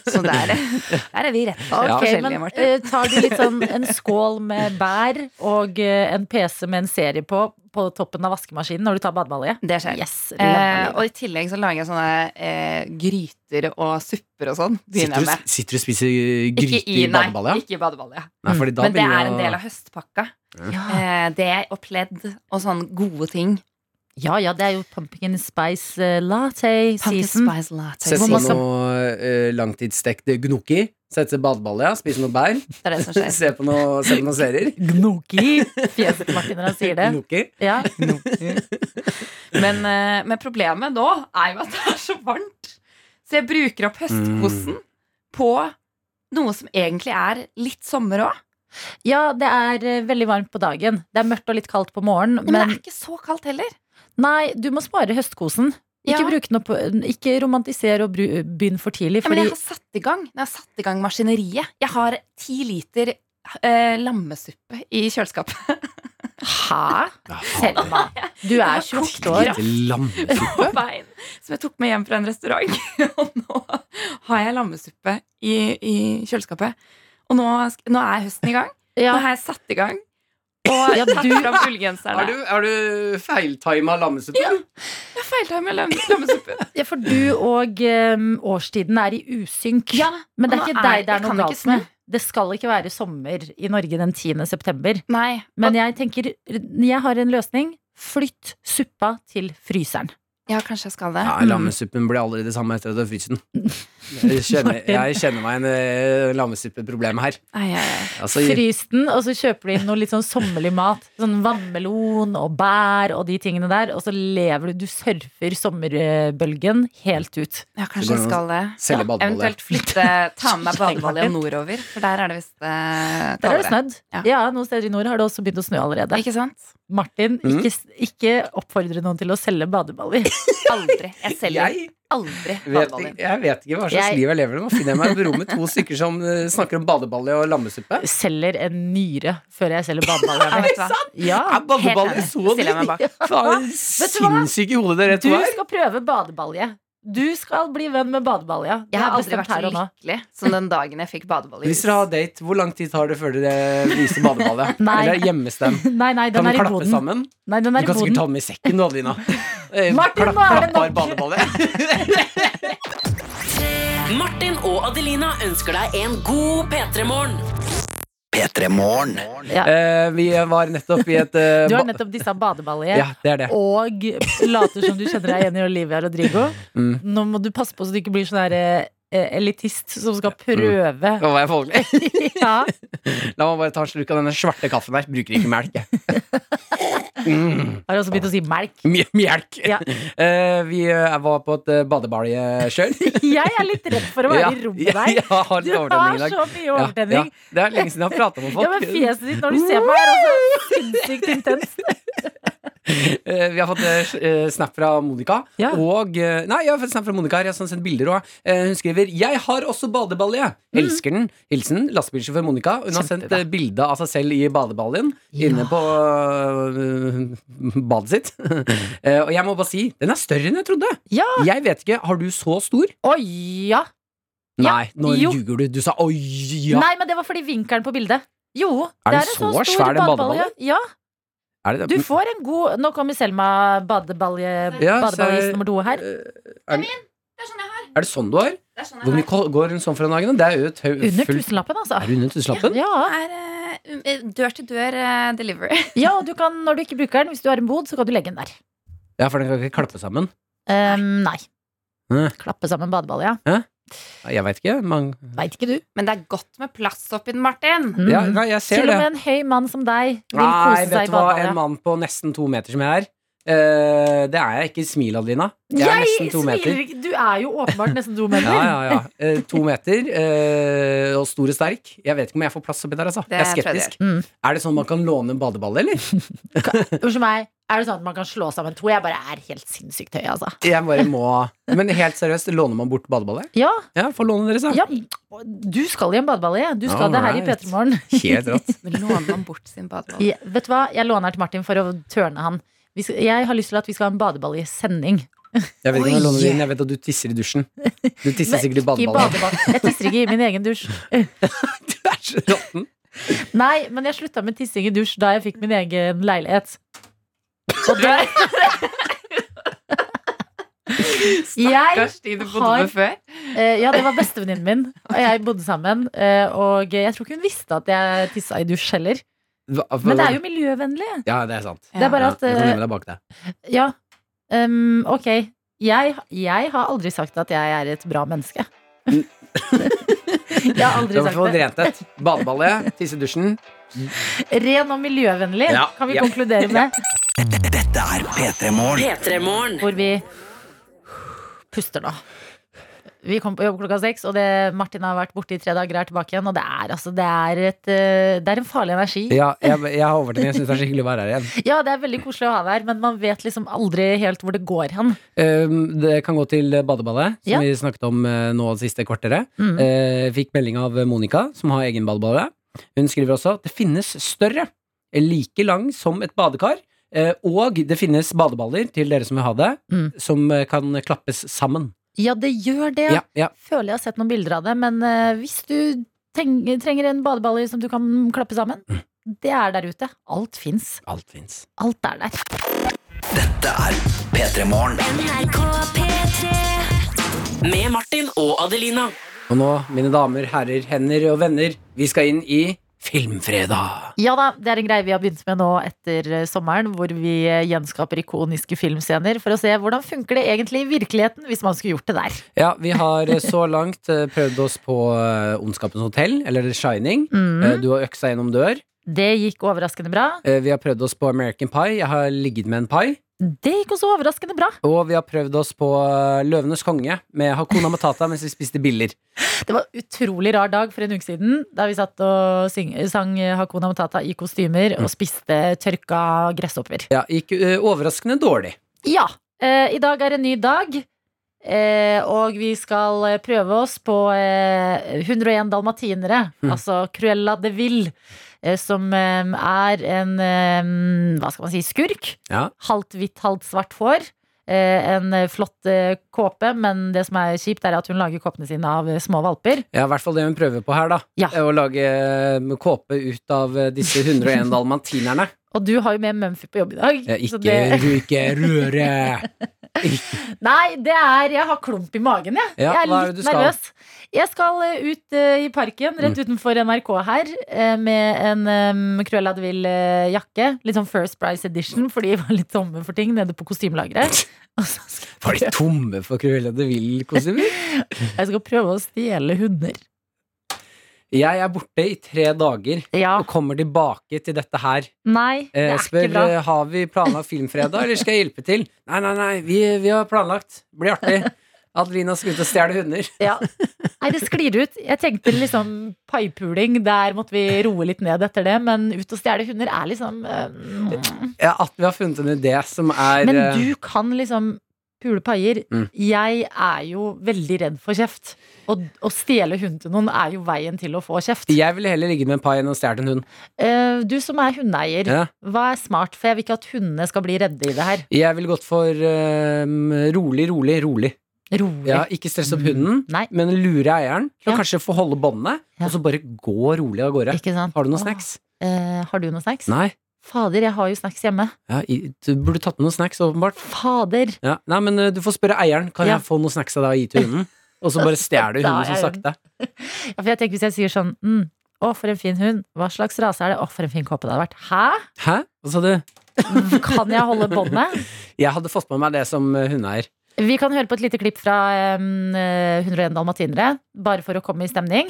S7: Så der, der er vi rett på
S3: Ja.
S4: Ok,
S7: forskjellige,
S4: men
S7: Martin.
S4: eh, Tar du litt sånn en skål med bær og eh, en PC med en serie på på toppen av vaskemaskinen når du tar badebalje?
S7: Det skjer.
S4: Yes,
S7: Eh,
S4: lampa
S7: og
S4: liv.
S7: i tillegg så lager jeg sånne eh, gryter og supper og sånn. Begynner
S3: Sitter
S7: jeg
S3: du,
S7: med.
S3: sitter du og spiser gryte
S7: Ikke i,
S3: i
S7: nei,
S3: badeballet? ja?
S7: ikke i badeballet.
S3: Nei, fordi da
S7: Men det
S3: begynner
S7: er en
S3: jeg å-
S7: del av høstpakka.
S4: ja.
S7: Eh, det og pledd og sånne gode ting.
S4: ja ja, det er jo pumpkin spice eh, latte
S7: Pumpkin
S4: season.
S7: spice latte.
S3: Sett
S4: Hvor
S3: på
S4: man
S7: season.
S4: skal-
S3: noe eh, langtidsstekt gnocchi. Sette seg i badeballet, ja. Spise noe bær.
S7: Det er det som
S3: <laughs>
S7: skjer.
S3: Se på noe, se på noen serier. <laughs>
S4: Gnoki! Fjeset til Martin når han sier det.
S3: Gnocchi.
S7: <laughs>
S4: Ja.
S7: Men, eh, men problemet nå er jo at det er så varmt. Så jeg bruker opp høstkosen på noe som egentlig er litt sommer òg.
S4: ja, det er eh, veldig varmt på dagen. Det er mørkt og litt kaldt på morgenen.
S7: Men, det
S4: Men
S7: er ikke så kaldt heller.
S4: nei, du må spare høstkosen. Ikke,
S7: Ja.
S4: bruk den opp, ikke romantisere og bru- begynn for tidlig.
S7: Ja, men
S4: Fordi,
S7: jeg har satt i gang Jeg har satt i gang maskineriet. Jeg har ti liter eh, lammesuppe i kjøleskapet.
S4: Hæ? Selma, du er 28 år.
S3: Lammesuppe.
S7: <laughs> På veien, som jeg tok med hjem fra en restaurant. Og nå har jeg lammesuppe i, i kjøleskapet. Og nå, sk- nå er høsten i gang.
S4: <laughs> Ja.
S7: Nå har jeg satt i gang. Og
S4: Ja,
S7: tatt
S4: du-
S7: fram
S3: Har
S7: ullgenserne.
S3: du, har du feiltima lammesuppe?
S7: Jeg feiltimer lamm- lammesuppen.
S4: ja, for du og um, årstiden er i usynk. men det er
S7: og nå
S4: ikke
S7: er-
S4: deg det
S7: jeg
S4: er noe
S7: kan ikke
S4: galt med. Det skal ikke være sommer i Norge den 10. september.
S7: Nei.
S4: Men jeg tenker, jeg har en løsning. Flytt suppa til fryseren.
S7: Ja, kanskje jeg skal det.
S3: Ja, lammesuppen blir aldri det samme etter at du har fryst
S7: <laughs>
S3: den. Jeg kjenner, jeg kjenner meg en eh, lammesuppeproblem her.
S7: Ai, ai, ai.
S3: Altså,
S4: Frys den, og så kjøper du inn noe litt sånn sommerlig mat. Sånn vannmelon og bær og de tingene der. Og så lever du Du surfer sommerbølgen helt ut.
S7: Ja, kanskje jeg skal det.
S3: Selge badeballe.
S7: Eventuelt flytte, ta
S4: <laughs>
S7: med meg badebalja nordover, for der er det visst eh,
S4: Der er det
S7: kaldere.
S4: snødd.
S7: Ja.
S4: Ja, noen steder i nord har det også begynt å snø allerede.
S7: Ikke sant?
S4: Martin,
S3: Mm.
S4: ikke, ikke oppfordre noen til å selge badeballer.
S7: Aldri. Jeg selger
S3: jeg
S7: aldri
S3: Vet,
S7: badeballen din.
S3: jeg vet ikke hva slags
S4: Jeg-
S3: liv jeg lever i. Nå finner jeg meg et rom med to stykker som eh, snakker om badeballe og lammesuppe.
S4: Selger en nyre før jeg selger
S7: <laughs>
S3: <laughs>
S7: Ja,
S4: badeballer.
S7: vet du hva?
S4: Ja,
S3: Er badeballe
S7: enig.
S3: så
S7: Stiller jeg meg
S3: dritt? Faen, sinnssyke hodet dere
S4: Du
S3: to er.
S4: skal prøve badebalje. Du skal bli venn med badebalje. Det
S7: Jeg har
S4: er
S7: aldri
S4: bestemt
S7: vært så
S4: her og nå.
S7: lykkelig som den dagen jeg fikk badeball i
S4: <laughs>
S3: Hvis dere har date, hvor lang tid tar det før dere viser badeballet?
S4: Nei.
S3: Eller gjemmes dem?
S4: <laughs> Nei, nei, den
S3: Kan
S4: er
S3: vi
S4: i
S3: klappe
S4: boden.
S3: sammen?
S4: Nei, den
S3: Du
S4: er i
S3: kan sikkert ta den
S4: boden.
S3: med i sekken, du,
S4: <laughs>
S3: Adelina. Eh,
S4: Martin,
S3: klapp-
S4: nå er det
S3: klappbar
S4: nok.
S3: badeballe.
S5: Martin og Adelina ønsker deg en god P3-morgen.
S2: P3 Morgen.
S4: Ja.
S3: Eh, vi var nettopp i et eh,
S4: Du har
S3: ba-
S4: nettopp disse badebalje.
S3: Ja, det er det.
S4: Og later som du kjenner deg igjen i Olivia Rodrigo.
S3: Mm.
S4: Nå må du passe på så du ikke blir sånn der eh, elitist som skal
S3: Mm.
S4: prøve.
S3: Nå var jeg folkelig.
S4: <laughs> Ja.
S3: La meg bare ta en slurk av denne svarte kaffen her. Bruker ikke melk,
S4: <laughs>
S3: jeg. Mm.
S4: Har også begynt å si melk.
S3: Mj- Mjelk.
S4: Ja.
S3: Eh, vi eh, var på et eh, badebalje sjøl.
S4: Jeg er litt redd for å være i rommet
S3: Ja, jeg
S4: der.
S3: har
S4: Du
S3: litt
S4: har
S3: overtenning i dag.
S4: så mye
S3: Ja, ja.
S4: overtenning.
S3: Det er lenge siden jeg har prata med folk.
S4: Ja, men fjeset ditt når du ser på her, altså. Sinnssykt intenst.
S3: Eh, vi har fått eh, snap fra Monica.
S4: Ja.
S3: Og eh, Nei, jeg har fått snap fra Monica her. Jeg har sånn sendt bilder også. Eh, hun skriver 'Jeg har også badebalje'. Elsker den. Hilsen lastebilsjåfør Monica. Hun har sendt
S4: Mm. Kjempebra.
S3: eh, bilde av seg selv i badebaljen
S4: Ja.
S3: inne på øh, eh, <laughs> badet
S4: <laughs>
S3: sitt. Eh, og jeg må bare si, den er større enn jeg trodde.
S4: Ja.
S3: Jeg vet ikke, Har du så stor?
S4: Oi, ja. Ja.
S3: Nei, nå
S4: Jo.
S3: ljuger du. Du sa 'oi, ja'.
S4: Nei, men det var fordi vinkelen på bildet. Jo,
S3: Er den
S4: det er en
S3: så
S4: så, stor
S3: svær, den
S4: badebalje. Ja,
S3: Er det
S4: du
S3: det?
S4: får en god Nå kommer Selma badebalje
S3: Ja, så-
S4: badebaljis nummer to her.
S3: Er,
S7: Det er sånn jeg har.
S3: er det sånn du har?
S7: Det er sånn
S3: Hvor mye ko- går hun sånn for en dag? nå? Det er jo et hø-
S4: Under
S3: fullt
S4: tusenlappen, altså.
S3: Er du under tusenlappen?
S4: Ja,
S7: er eh, dør til dør eh, delivery.
S4: <laughs> ja og du kan, når du ikke bruker den, hvis du har en bod, så kan du legge den der.
S3: Ja, for den kan ikke klappe sammen.
S4: Ehm, nei.
S3: Hæ?
S4: Klappe sammen badebalje.
S3: Jeg veit ikke. Man,
S4: Veit ikke du.
S7: Men det er godt med plass oppi den, Martin.
S4: Mm.
S3: ja, nei, jeg ser
S4: Til og
S3: det.
S4: med en høy mann som deg vil
S3: Nei,
S4: kose seg
S3: vet
S4: i
S3: du hva, en
S4: badebalje.
S3: mann på nesten to meter som jeg er. eh, det er jeg ikke. Smil, Adelina. Jeg er nesten to meter.
S4: ikke! Du er jo åpenbart nesten to
S3: Ja,
S4: meter.
S3: ja, ja. Eh, to meter eh, og stor og sterk. Jeg vet ikke om jeg får plass oppi der, altså.
S7: Det
S3: Jeg er
S7: tror jeg
S3: skeptisk.
S4: du gjør. Mm.
S3: Er det sånn man kan låne en badeballe, eller?
S4: <laughs> Unnskyld meg, er det sånn at man kan slå sammen to? Jeg bare er helt sinnssykt høy, altså.
S3: Jeg bare må Men helt seriøst, låner man bort badeballe?
S4: Ja,
S3: Ja, få låne deres, da.
S4: ja, du skal i en badebalje. Du skal det her i
S3: Alright.
S4: P3 Morgen.
S3: Helt
S4: <laughs>
S3: rått.
S7: Men låner man bort sin badeball?
S4: Ja, vet du hva? Jeg låner til Martin for å tørne han. Vi skal, jeg har lyst til at vi skal ha en badebaljesending.
S3: Jeg vet ikke om jeg
S7: Oi.
S3: låner din. Jeg vet at du tisser i dusjen. Du tisser
S4: Men
S3: sikkert i
S4: ikke i
S3: badeballen.
S4: badeball. Jeg tisser ikke i min egen dusj.
S3: <laughs> Du er så råtten.
S4: Nei, men jeg slutta med tissing i dusj da jeg fikk min egen leilighet. Og det Jeg
S7: <laughs> Stakkars de du bodde
S4: har-
S7: med før.
S4: eh, Ja, det var bestevenninnen min, og jeg bodde sammen. eh, Og jeg tror ikke hun visste at jeg tissa i dusj heller.
S3: Hva-
S4: Men det er jo miljøvennlig.
S3: Ja, det er sant.
S4: Det er bare
S3: Ja,
S4: at
S3: du kan
S4: eh,
S3: gjemme deg bak deg.
S4: Ja. Um, ok. Jeg, jeg har aldri sagt at jeg er et bra menneske. jeg
S3: Du
S4: har aldri
S3: har fått
S4: sagt det.
S3: rentet. Badeballet, tisse i dusjen.
S4: Ren og miljøvennlig
S3: Ja,
S4: kan vi
S3: ja.
S4: konkludere med.
S2: Dette er P3 Morgen.
S5: P3-morgen.
S4: Hvor vi puster nå. Vi kom på jobb klokka seks, og det Martin har vært borte i tre dager, er tilbake igjen. Og det er, altså, det er, et, eh, det er en farlig energi. Ja.
S3: Ja,
S4: <laughs>
S3: jeg, jeg har overtenning. Jeg syns det er så hyggelig å være her igjen.
S4: det er veldig koselig å ha deg her, men man vet liksom aldri helt hvor det går hen.
S3: Um, det kan gå til badeballet, som
S4: Ja.
S3: vi snakket om eh, nå det siste kvarteret.
S4: Mm.
S3: Eh, fikk melding av Monica, som har egen badeballe. Hun skriver også at det finnes større, eh, like lang som et badekar. eh, og det finnes badeballer til dere som vil ha det,
S4: Mm.
S3: som eh, kan klappes sammen.
S4: Ja, det gjør det.
S3: Ja, ja.
S4: Føler jeg har sett noen bilder av det, men eh, hvis du teng trenger en badeballer som du kan klappe sammen,
S3: Mm.
S4: det er der ute. Alt fins.
S3: Alt fins.
S4: Alt er der.
S2: Dette er P3 Morgen.
S5: Med Martin og Adelina.
S3: Og nå, mine damer, herrer, hender og venner, vi skal inn i Filmfredag.
S4: Ja da, det er en greie vi har begynt med nå etter eh, sommeren, hvor vi eh, gjenskaper ikoniske filmscener for å se hvordan funker det egentlig i virkeligheten hvis man skulle gjort det der.
S3: Ja, vi har eh, så langt eh, prøvd oss på eh, Ondskapens hotell, eller The Shining. Eh, Du har øksa gjennom dør.
S4: Mhm. Det gikk overraskende bra.
S3: Eh, Vi har prøvd oss på American Pie. Jeg har ligget med en pai.
S4: Det gikk også overraskende bra.
S3: Og vi har prøvd oss på eh, Løvenes konge med Hakuna Matata mens vi spiste biller.
S4: Det var utrolig rar dag for en uke siden, da vi satt og syng, sang eh, Hakuna Matata i kostymer og spiste tørka gresshopper.
S3: Ja, gikk eh, overraskende dårlig.
S4: Ja. eh, I dag er en ny dag. Eh, og vi skal eh, prøve oss på eh, 101 dalmatinere,
S3: Hm.
S4: altså Cruella de Ville, eh, som eh, er en eh, Hva skal man si? Skurk.
S3: Ja.
S4: Halvt hvitt, halvt svart hår. Eh, en eh, flott eh, kåpe, men det som er kjipt, er at hun lager kåpene sine av eh, små valper.
S3: Ja, i hvert fall det hun prøver på her, da.
S4: Ja.
S3: Er Å lage eh, kåpe ut av eh, disse 101 dalmantinerne.
S4: Og du har jo med Mumphy på jobb i dag.
S3: Eh, Ikke,
S4: så det-
S3: ikke røre!
S4: Nei, det er Jeg har klump i magen, jeg.
S3: Ja,
S4: jeg
S3: hva er
S4: er
S3: det du
S4: litt
S3: skal? Mm.
S4: nervøs. Jeg skal eh, ut eh, i parken rett utenfor NRK her eh, med en um, Cruella de Vil-jakke. Litt sånn First Price Edition, fordi vi var litt tomme for ting nede på
S3: <laughs>
S4: kostymelageret. Og så skal
S3: Var de tomme for Cruella de Vil-kostymer?
S4: jeg skal prøve å stjele hunder.
S3: Jeg er borte i tre dager
S4: Ja.
S3: og kommer tilbake til dette her.
S4: Nei, det
S3: Eh,
S4: er
S3: spør
S4: ikke bra.
S3: eh, har vi planlagt filmfredag, eller skal jeg hjelpe til? Nei, nei, nei, vi, vi har planlagt. Blir artig. Adelina skal ut og stjele hunder.
S4: Ja. Nei, det sklir ut. Jeg tenkte liksom paipuling, der måtte vi roe litt ned etter det. Men ut og stjele hunder er liksom eh,
S3: Ja, at vi har funnet en idé som er eh,
S4: Men du kan liksom pule paier.
S3: Mm.
S4: Jeg er jo veldig redd for kjeft. Og å stjele hund til noen er jo veien til å få kjeft.
S3: Jeg ville heller ligget med en pai enn å stjele en hund.
S4: Eh, Du som er hundeeier,
S3: Ja.
S4: hva er smart? For jeg vil ikke at hundene skal bli redde i det her.
S3: Jeg ville gått for eh, rolig, rolig, rolig.
S4: Rolig. Mm,
S3: Ja, ikke stress opp hunden,
S4: Nei,
S3: men lure eieren. Til
S4: Ja.
S3: å kanskje få holde båndet,
S4: Ja.
S3: og så bare gå rolig av gårde.
S4: ikke sant.
S3: Har du
S4: Åh,
S3: noen snacks?
S4: eh, har du noen snacks?
S3: Nei.
S4: Fader, jeg har jo snacks hjemme.
S3: Ja, i- du burde tatt med noen snacks, åpenbart.
S4: Fader!
S3: Ja. Nei, men eh, du får spørre eieren. Kan
S4: Ja.
S3: jeg få noen snacks av deg og gi til hunden? Og så bare stjeler du
S4: Da
S3: hunden så
S4: er jeg
S3: sakte.
S4: Ja, for jeg tenker Hvis jeg sier sånn mm, 'Å, for en fin hund', hva slags rase er det? 'Å, for en fin kåpe det hadde vært'. Hæ?
S3: Hæ? Hva sa du?
S4: Kan jeg holde båndet?
S3: Jeg hadde fått med meg det som eh, hundeeier.
S4: Vi kan høre på et lite klipp fra em, eh, 101 dalmatinere, bare for å komme i stemning.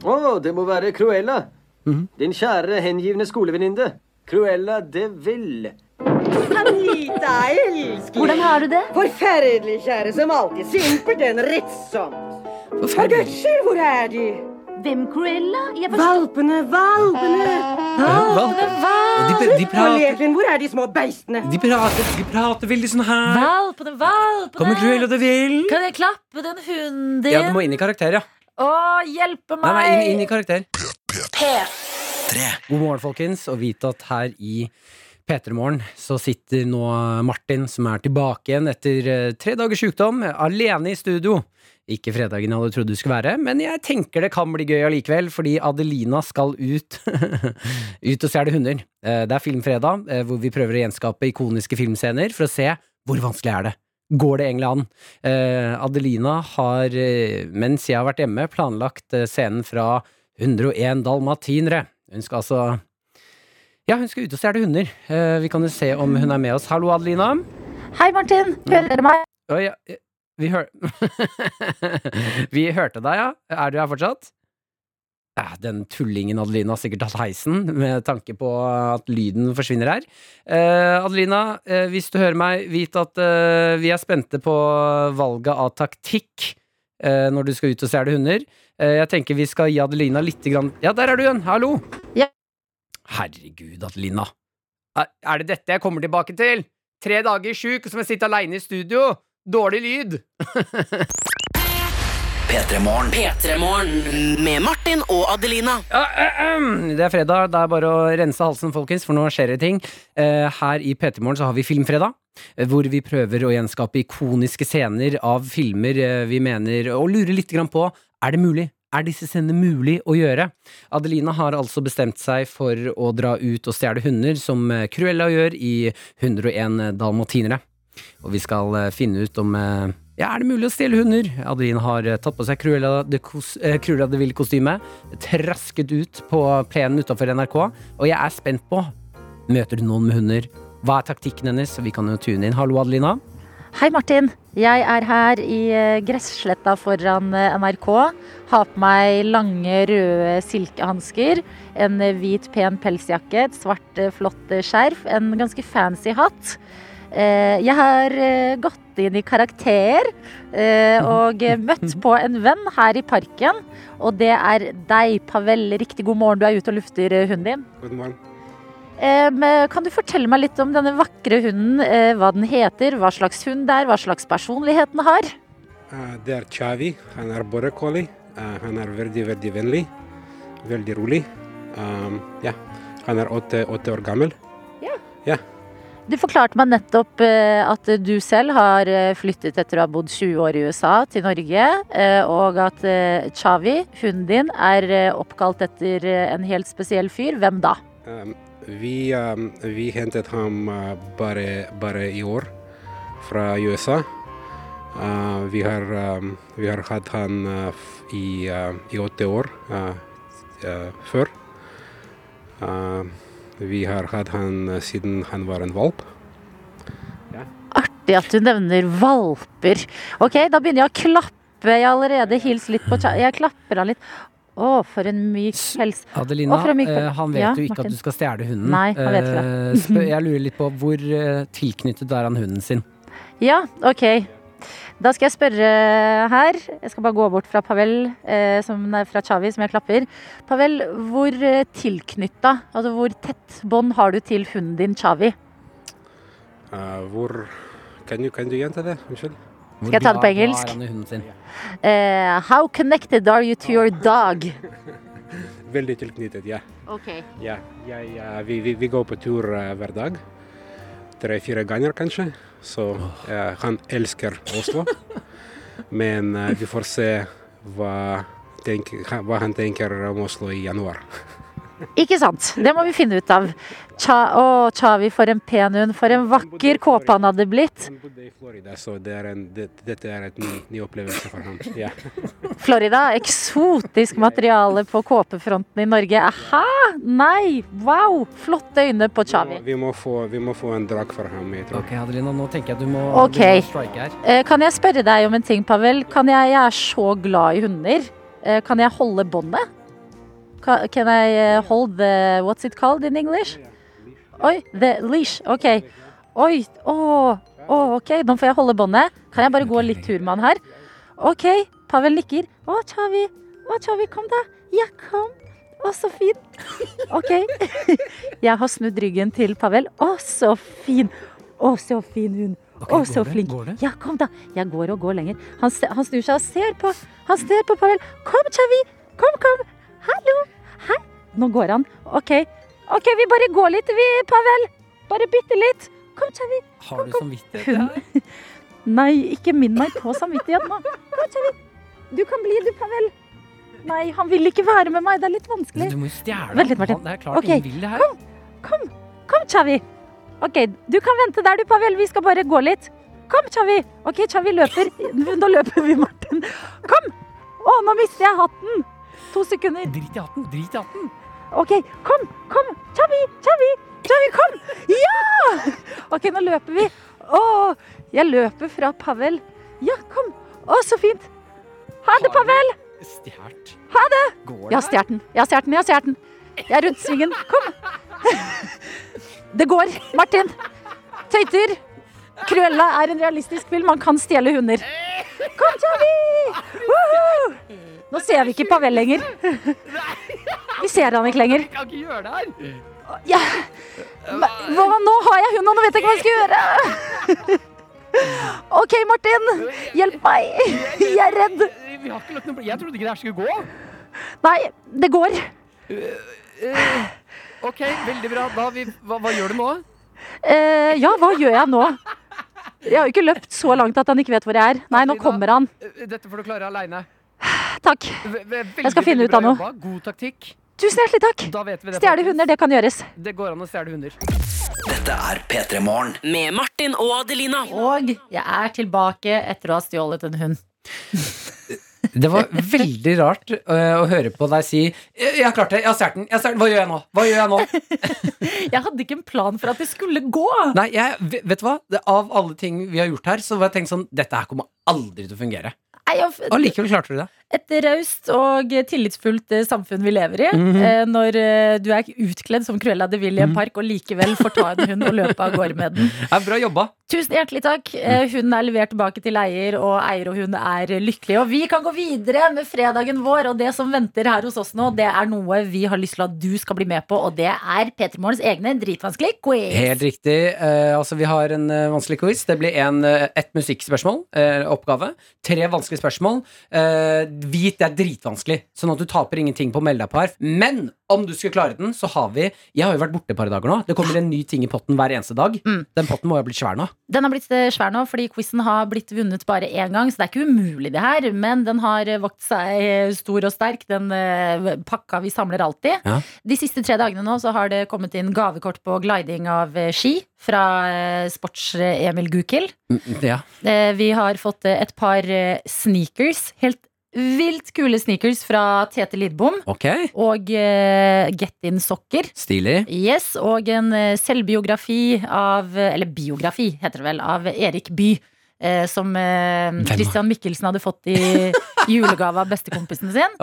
S8: Å, det må være Cruella.
S3: Mhm.
S8: Din kjære hengivne skolevenninne. Cruella de Vil.
S9: Anita, elskelig.
S10: Hvordan har du det?
S9: Forferdelig kjære, som alltid. Simpelthen rettsomt. Hva gudskjelov, hvor er de?
S10: Hvem Cruella? Jeg forstår
S9: Valpene, valpene!
S3: Og de, de,
S9: Og
S3: prater,
S9: Leklin, hvor er de små beistene?
S3: de, prater, de prater veldig sånn her.
S4: Valpene, valpene!
S3: Kommer Cruella de Vil?
S4: Kan jeg klappe den hunden din?
S3: Ja, du må inn i karakter, ja.
S4: Å, hjelpe meg!
S3: Nei, nei, inn, inn i karakter. God morgen, folkens, og vit at her i P3 Morgen så sitter nå Martin, som er tilbake igjen etter eh, tre dagers sykdom, alene i studio. Ikke fredagen alle trodde det skulle være, men jeg tenker det kan bli gøy allikevel, fordi Adelina skal ut <laughs> Ut og stjele hunder. Eh, Det er Filmfredag, eh, hvor vi prøver å gjenskape ikoniske filmscener for å se hvor vanskelig er det. Går det egentlig an? Eh, Adelina har, eh, mens jeg har vært hjemme, planlagt eh, scenen fra 101 dalmatinere. Hun skal altså Ja, hun skal ut og stjele hunder. Eh, vi kan jo se om hun er med oss. Hallo, Adelina.
S4: Hei, Martin! Hører dere meg?
S3: Oi, ja, eh, vi hør... <laughs> vi hørte deg, ja. Er du her fortsatt? Eh, Den tullingen Adelina har sikkert tatt heisen, med tanke på at lyden forsvinner her. Eh, Adelina, eh, hvis du hører meg, vit at eh, vi er spente på valget av taktikk eh, når du skal ut og stjele hunder. Eh, jeg tenker vi skal gi Adelina litt grann Ja, der er du igjen! Hallo!
S4: Ja.
S3: Herregud, Adelina. Er, er det dette jeg kommer tilbake til? Tre dager sjuk, og så må jeg sitte aleine i studio. Dårlig <laughs> lyd.
S2: P3 Morgen.
S5: P3 Morgen med Martin og Adelina.
S3: Det er fredag. Det er bare å rense halsen, folkens, for nå skjer det ting. Eh, Her i P3 Morgen så har vi Filmfredag, eh, hvor vi prøver å gjenskape ikoniske scener av filmer eh, vi mener, og lurer litt grann på er det mulig. Er disse scenene mulig å gjøre? Adelina har altså bestemt seg for å dra ut og stjele hunder, som eh, Cruella gjør i 101 dalmatinere. Og vi skal eh, finne ut om eh, ja, er det mulig å stjele hunder? Adelina har eh, tatt på seg Cruella de, Cos- eh, Cruella de Vil-kostyme, trasket ut på plenen utafor NRK, og jeg er spent på Møter du noen med hunder? Hva er taktikken hennes? Vi kan jo tune inn. Hallo, Adelina.
S4: Hei, Martin. Jeg er her i eh, gressletta foran eh, NRK. Har på meg lange, røde silkehansker, en eh, hvit, pen pelsjakke, et svart, eh, flott eh, skjerf, en ganske fancy hatt. Eh, Jeg har eh, gått inn i karakter eh, og eh, møtt på en venn her i parken. Og det er deg, Pavel. Riktig god morgen, du er ute og lufter eh, hunden din.
S11: God morgen.
S4: Em, Eh, Kan du fortelle meg litt om denne vakre hunden? eh, Hva den heter, hva slags hund det er, hva slags personlighet den har?
S11: Eh, Det er Chavi. Han er border collie. Eh, Han er veldig, veldig vennlig. Veldig rolig. Um, ja. Han er åtte, åtte år gammel. Ja.
S4: Du forklarte meg nettopp eh, at du selv har eh, flyttet etter å ha bodd 20 år i USA til Norge, eh, og at eh, Chavi, hunden din, er eh, oppkalt etter eh, en helt spesiell fyr. Hvem da?
S11: Um, vi, um, vi hentet ham uh, bare, bare i år fra USA. Uh, vi, har, um, vi har hatt han uh, f- i, uh, i åtte år uh, s- uh, før. Uh, vi har hatt han uh, siden han var en valp.
S4: Artig at du nevner valper. Ok, da begynner jeg å klappe. Jeg har allerede hilst litt på Chavi. Jeg klapper han litt. Å, for en myk pels. Å,
S3: Adelina,
S4: for en myk pels.
S3: eh, han vet
S4: Ja,
S3: jo ikke
S4: Martin.
S3: at du skal stjele hunden.
S4: Nei, han vet ikke det.
S3: Eh, spør- jeg lurer litt på hvor eh, tilknyttet er han hunden sin?
S4: <laughs> Ja, ok. Da skal jeg spørre her. Jeg skal bare gå bort fra Pavel, eh, som er fra Chavi, som jeg klapper. Pavel, hvor eh, tilknytta, altså hvor tett bånd har du til hunden din Chavi?
S11: Uh, hvor kan du, kan du gjenta det? Unnskyld.
S4: Skal jeg ta det på engelsk? Eh, how connected are you to your dog?
S11: Veldig tilknyttet, ja.
S4: Ok.
S11: Ja, jeg, eh, vi, vi, vi går på tur eh, hver dag. Tre-fire ganger kanskje. Så eh, han elsker Oslo. Men eh, vi får se hva, tenk, ha- hva han tenker om Oslo i januar.
S4: Ikke sant? Det må vi finne ut av. Cha å, Chavi, for en pen hund. For en vakker kåpe han hadde blitt.
S11: Florida, så det er en, det, dette er en ny, ny opplevelse for ham. Ja.
S4: Florida, eksotisk materiale på kåpefronten i Norge. Aha! Nei! Wow! Flotte øyne på Chavi.
S11: Vi må få, vi må få en drag for ham, jeg tror.
S3: Ok, Adelina, nå tenker jeg at du må,
S4: Ok.
S3: du må strike her.
S4: Eh, Kan jeg spørre deg om en ting, Pavel? Kan jeg, jeg er så glad i hunder. Eh, Kan jeg holde båndet? Ka- Can I eh, hold the What's it called in English? Oi, the leash. OK. Oi. Å, å, OK. Nå får jeg holde båndet. Kan jeg bare gå litt tur med han her? OK. Pavel nikker. Å, Chavi. Å, Chavi, kom, da. Ja, kom. Å, så fin. OK. <laughs>
S3: <laughs>
S4: Jeg har snudd ryggen til Pavel. Å, så fin. Å, så fin hund. Å, så flink. Ja, kom, da. Jeg går og går lenger. Han, se- han snur seg og ser på. Han ser på Pavel. Kom, Chavi. Kom, kom. Hallo. Hei. Nå går han. OK. OK, vi bare går litt, vi, Pavel. Bare bitte litt. Kom, Chavi.
S3: Har du samvittighet?
S4: Hun. <laughs> Nei, ikke minn meg på samvittigheten nå. Kom, Chavi. Du kan bli, du, Pavel. Nei, han vil ikke være med meg. Det er litt vanskelig.
S3: Du må jo stjele
S4: Vent litt, Martin.
S3: Han- Det er klart
S4: Ok,
S3: ingen vil det her.
S4: Kom, kom, kom, Chavi. Ok, du kan vente der du, Pavel. Vi skal bare gå litt. Kom, Chavi. Ok, Chavi løper. Nå løper vi, Martin. Kom! Å, nå mister jeg hatten. To sekunder.
S3: Drit i hatten, drit i hatten.
S4: Ok, kom, kom. Chavi, Chavi, Chavi, kom. Ja! Ok, nå løper vi. Å, jeg løper fra Pavel. Ja, kom. Å, så fint. Ha det, Pavel.
S3: Stjert.
S4: Ha det!
S3: Går
S4: Jeg har
S3: det?
S4: stjålet den. Jeg har stjålet den. Jeg har stjålet den. Jeg er rundt svingen. Kom. <laughs> Det går. Martin. Tøyter. Cruella er en realistisk film. Man kan stjele hunder. Kom, Chavi! Woohoo! Nå ser vi ikke Pavel lenger. Vi ser han ikke lenger.
S3: kan ikke gjøre det her.
S4: Ja. Men, Hva, nå har jeg hunden, og nå vet jeg ikke hva jeg skal gjøre.
S12: <laughs>
S4: OK, Martin. Hjelp meg. Jeg er redd.
S12: Vi har ikke lagt noe pl- Jeg trodde ikke det her skulle gå.
S4: Nei, det går.
S12: Eh, OK, veldig bra. Da, vi, hva, hva gjør du nå?
S4: Eh, ja, hva gjør jeg nå? Jeg har jo ikke løpt så langt at han ikke vet hvor jeg er. Nei, nå kommer han.
S12: Eh, Dette får du klare aleine.
S4: Takk.
S12: Jeg
S4: skal finne ut av noe.
S12: God taktikk.
S4: Tusen hjertelig takk.
S12: Da vet vi det.
S4: Stjele hunder, det kan gjøres.
S12: Det går an å stjele hunder.
S2: Dette er P3 Morgen.
S5: Med Martin og Adelina.
S4: Og jeg er tilbake etter å ha stjålet en hund.
S3: Det var veldig rart eh, å høre på deg si «Jeg jeg har klart det, jeg har stjålet den, jeg har stjålet den, hva gjør jeg nå? Hva gjør jeg nå?»
S4: <laughs> Jeg hadde ikke en plan for at det skulle gå.
S3: Nei, jeg, ve- vet du hva? Det, av alle ting vi har gjort her, så var jeg tenkt sånn Dette her kommer aldri til å fungere.
S4: Nei, jeg,
S3: Allikevel klarte du det.
S4: et raust og tillitsfullt eh, samfunn vi lever i.
S13: Mhm.
S4: eh, Når eh, du er utkledd som Cruella de Vil i en
S3: Mhm.
S4: park og likevel får ta en hund og
S3: <laughs>
S4: løpe av gårde med den.
S3: Ja, bra jobba.
S4: Tusen hjertelig takk. Eh, Hunden er levert tilbake til eier, og eier og hund er lykkelige. Og vi kan gå videre med fredagen vår, og det som venter her hos oss nå, det er noe vi har lyst til at du skal bli med på, og det er P3 Morgens egne dritvanskelig quiz.
S3: Helt riktig. Eh, altså, vi har en eh, vanskelig quiz. Det blir en, eh, ett musikkspørsmål, eh, oppgave. Tre vanskelige spørsmål. Eh, vit det er dritvanskelig, sånn at du taper ingenting på å melde deg på her. Men om du skulle klare den, så har vi Jeg har jo vært borte et par dager nå. Det kommer en ny ting i potten hver eneste dag. Den potten må jo ha blitt svær nå.
S4: Den har blitt eh, svær nå, fordi quizen har blitt vunnet bare én gang, så det er ikke umulig, det her. Men den har eh, vakt seg eh, stor og sterk, den eh, pakka vi samler alltid.
S3: Ja.
S4: De siste tre dagene nå så har det kommet inn gavekort på gliding av eh, ski fra eh, sports-Emil Gukild.
S3: Mm, Ja.
S4: Eh, Vi har fått eh, et par eh, sneakers. Helt vilt kule sneakers fra Tete Lidbom.
S3: Ok.
S4: Og eh, Get In-sokker.
S3: Stilig.
S4: Yes, Og en eh, selvbiografi av eh, Eller biografi, heter det vel. Av Erik Bye. eh, Som eh, Christian Michelsen hadde fått i
S3: <laughs>
S4: julegave av bestekompisen sin.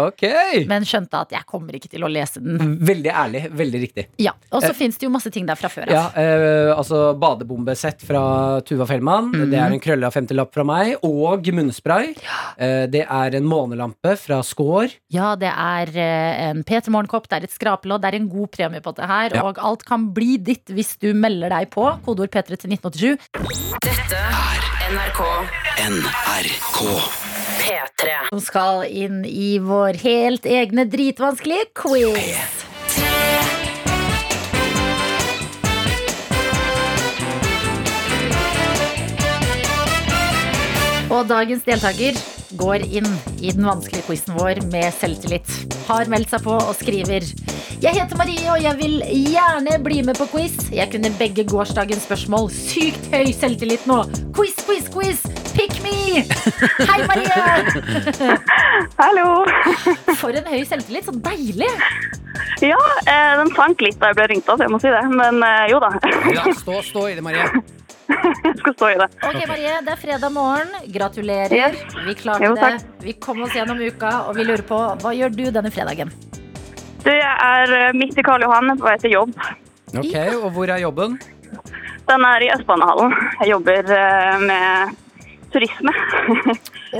S4: Men skjønte at jeg kommer ikke til å lese den.
S3: Veldig ærlig. Veldig riktig.
S4: Ja, Og så
S3: Mm. Eh,
S4: fins det jo masse ting der fra før av.
S3: Ja, eh, altså badebombesett fra Tuva Fellmann.
S4: Mhm.
S3: Det er en krølla femtilapp fra meg. Og munnspray. Eh, det er en månelampe fra Skår.
S4: Ja, det er eh, en P3 Morgenkopp, det er et skrapelodd, det er en god premie på dette her.
S3: Ja.
S4: Og alt kan bli ditt hvis du melder deg på. Kodeord P3 til 1987.
S5: Dette er NRK
S2: NRK.
S5: P3.
S4: Som skal inn i vår helt egne dritvanskelige quiz. Og dagens deltaker går inn i den vanskelige quizen vår med selvtillit. Har meldt seg på og skriver Jeg heter Marie, og jeg vil gjerne bli med på quiz. Jeg kunne begge gårsdagens spørsmål. Sykt høy selvtillit nå. Quiz, quiz, quiz. Pick me! Hei, Marie!
S14: <laughs> Hallo.
S4: For en høy selvtillit. Så deilig.
S14: Ja, eh, den sank litt da jeg ble ringt opp, jeg må si det. Men eh, jo da.
S3: Ja, stå, stå i det, Marie.
S14: <laughs> jeg skal stå i det.
S4: Ok, Marie, det er fredag morgen. Gratulerer. Vi klarte
S14: Jo, takk.
S4: det. Vi kom oss gjennom uka, og vi lurer på hva gjør du denne fredagen?
S14: Du, jeg er eh, midt i Karl Johan på vei til jobb.
S3: Ok, Og hvor er jobben?
S14: Den er i Østbanehallen. Jeg jobber eh, med turisme.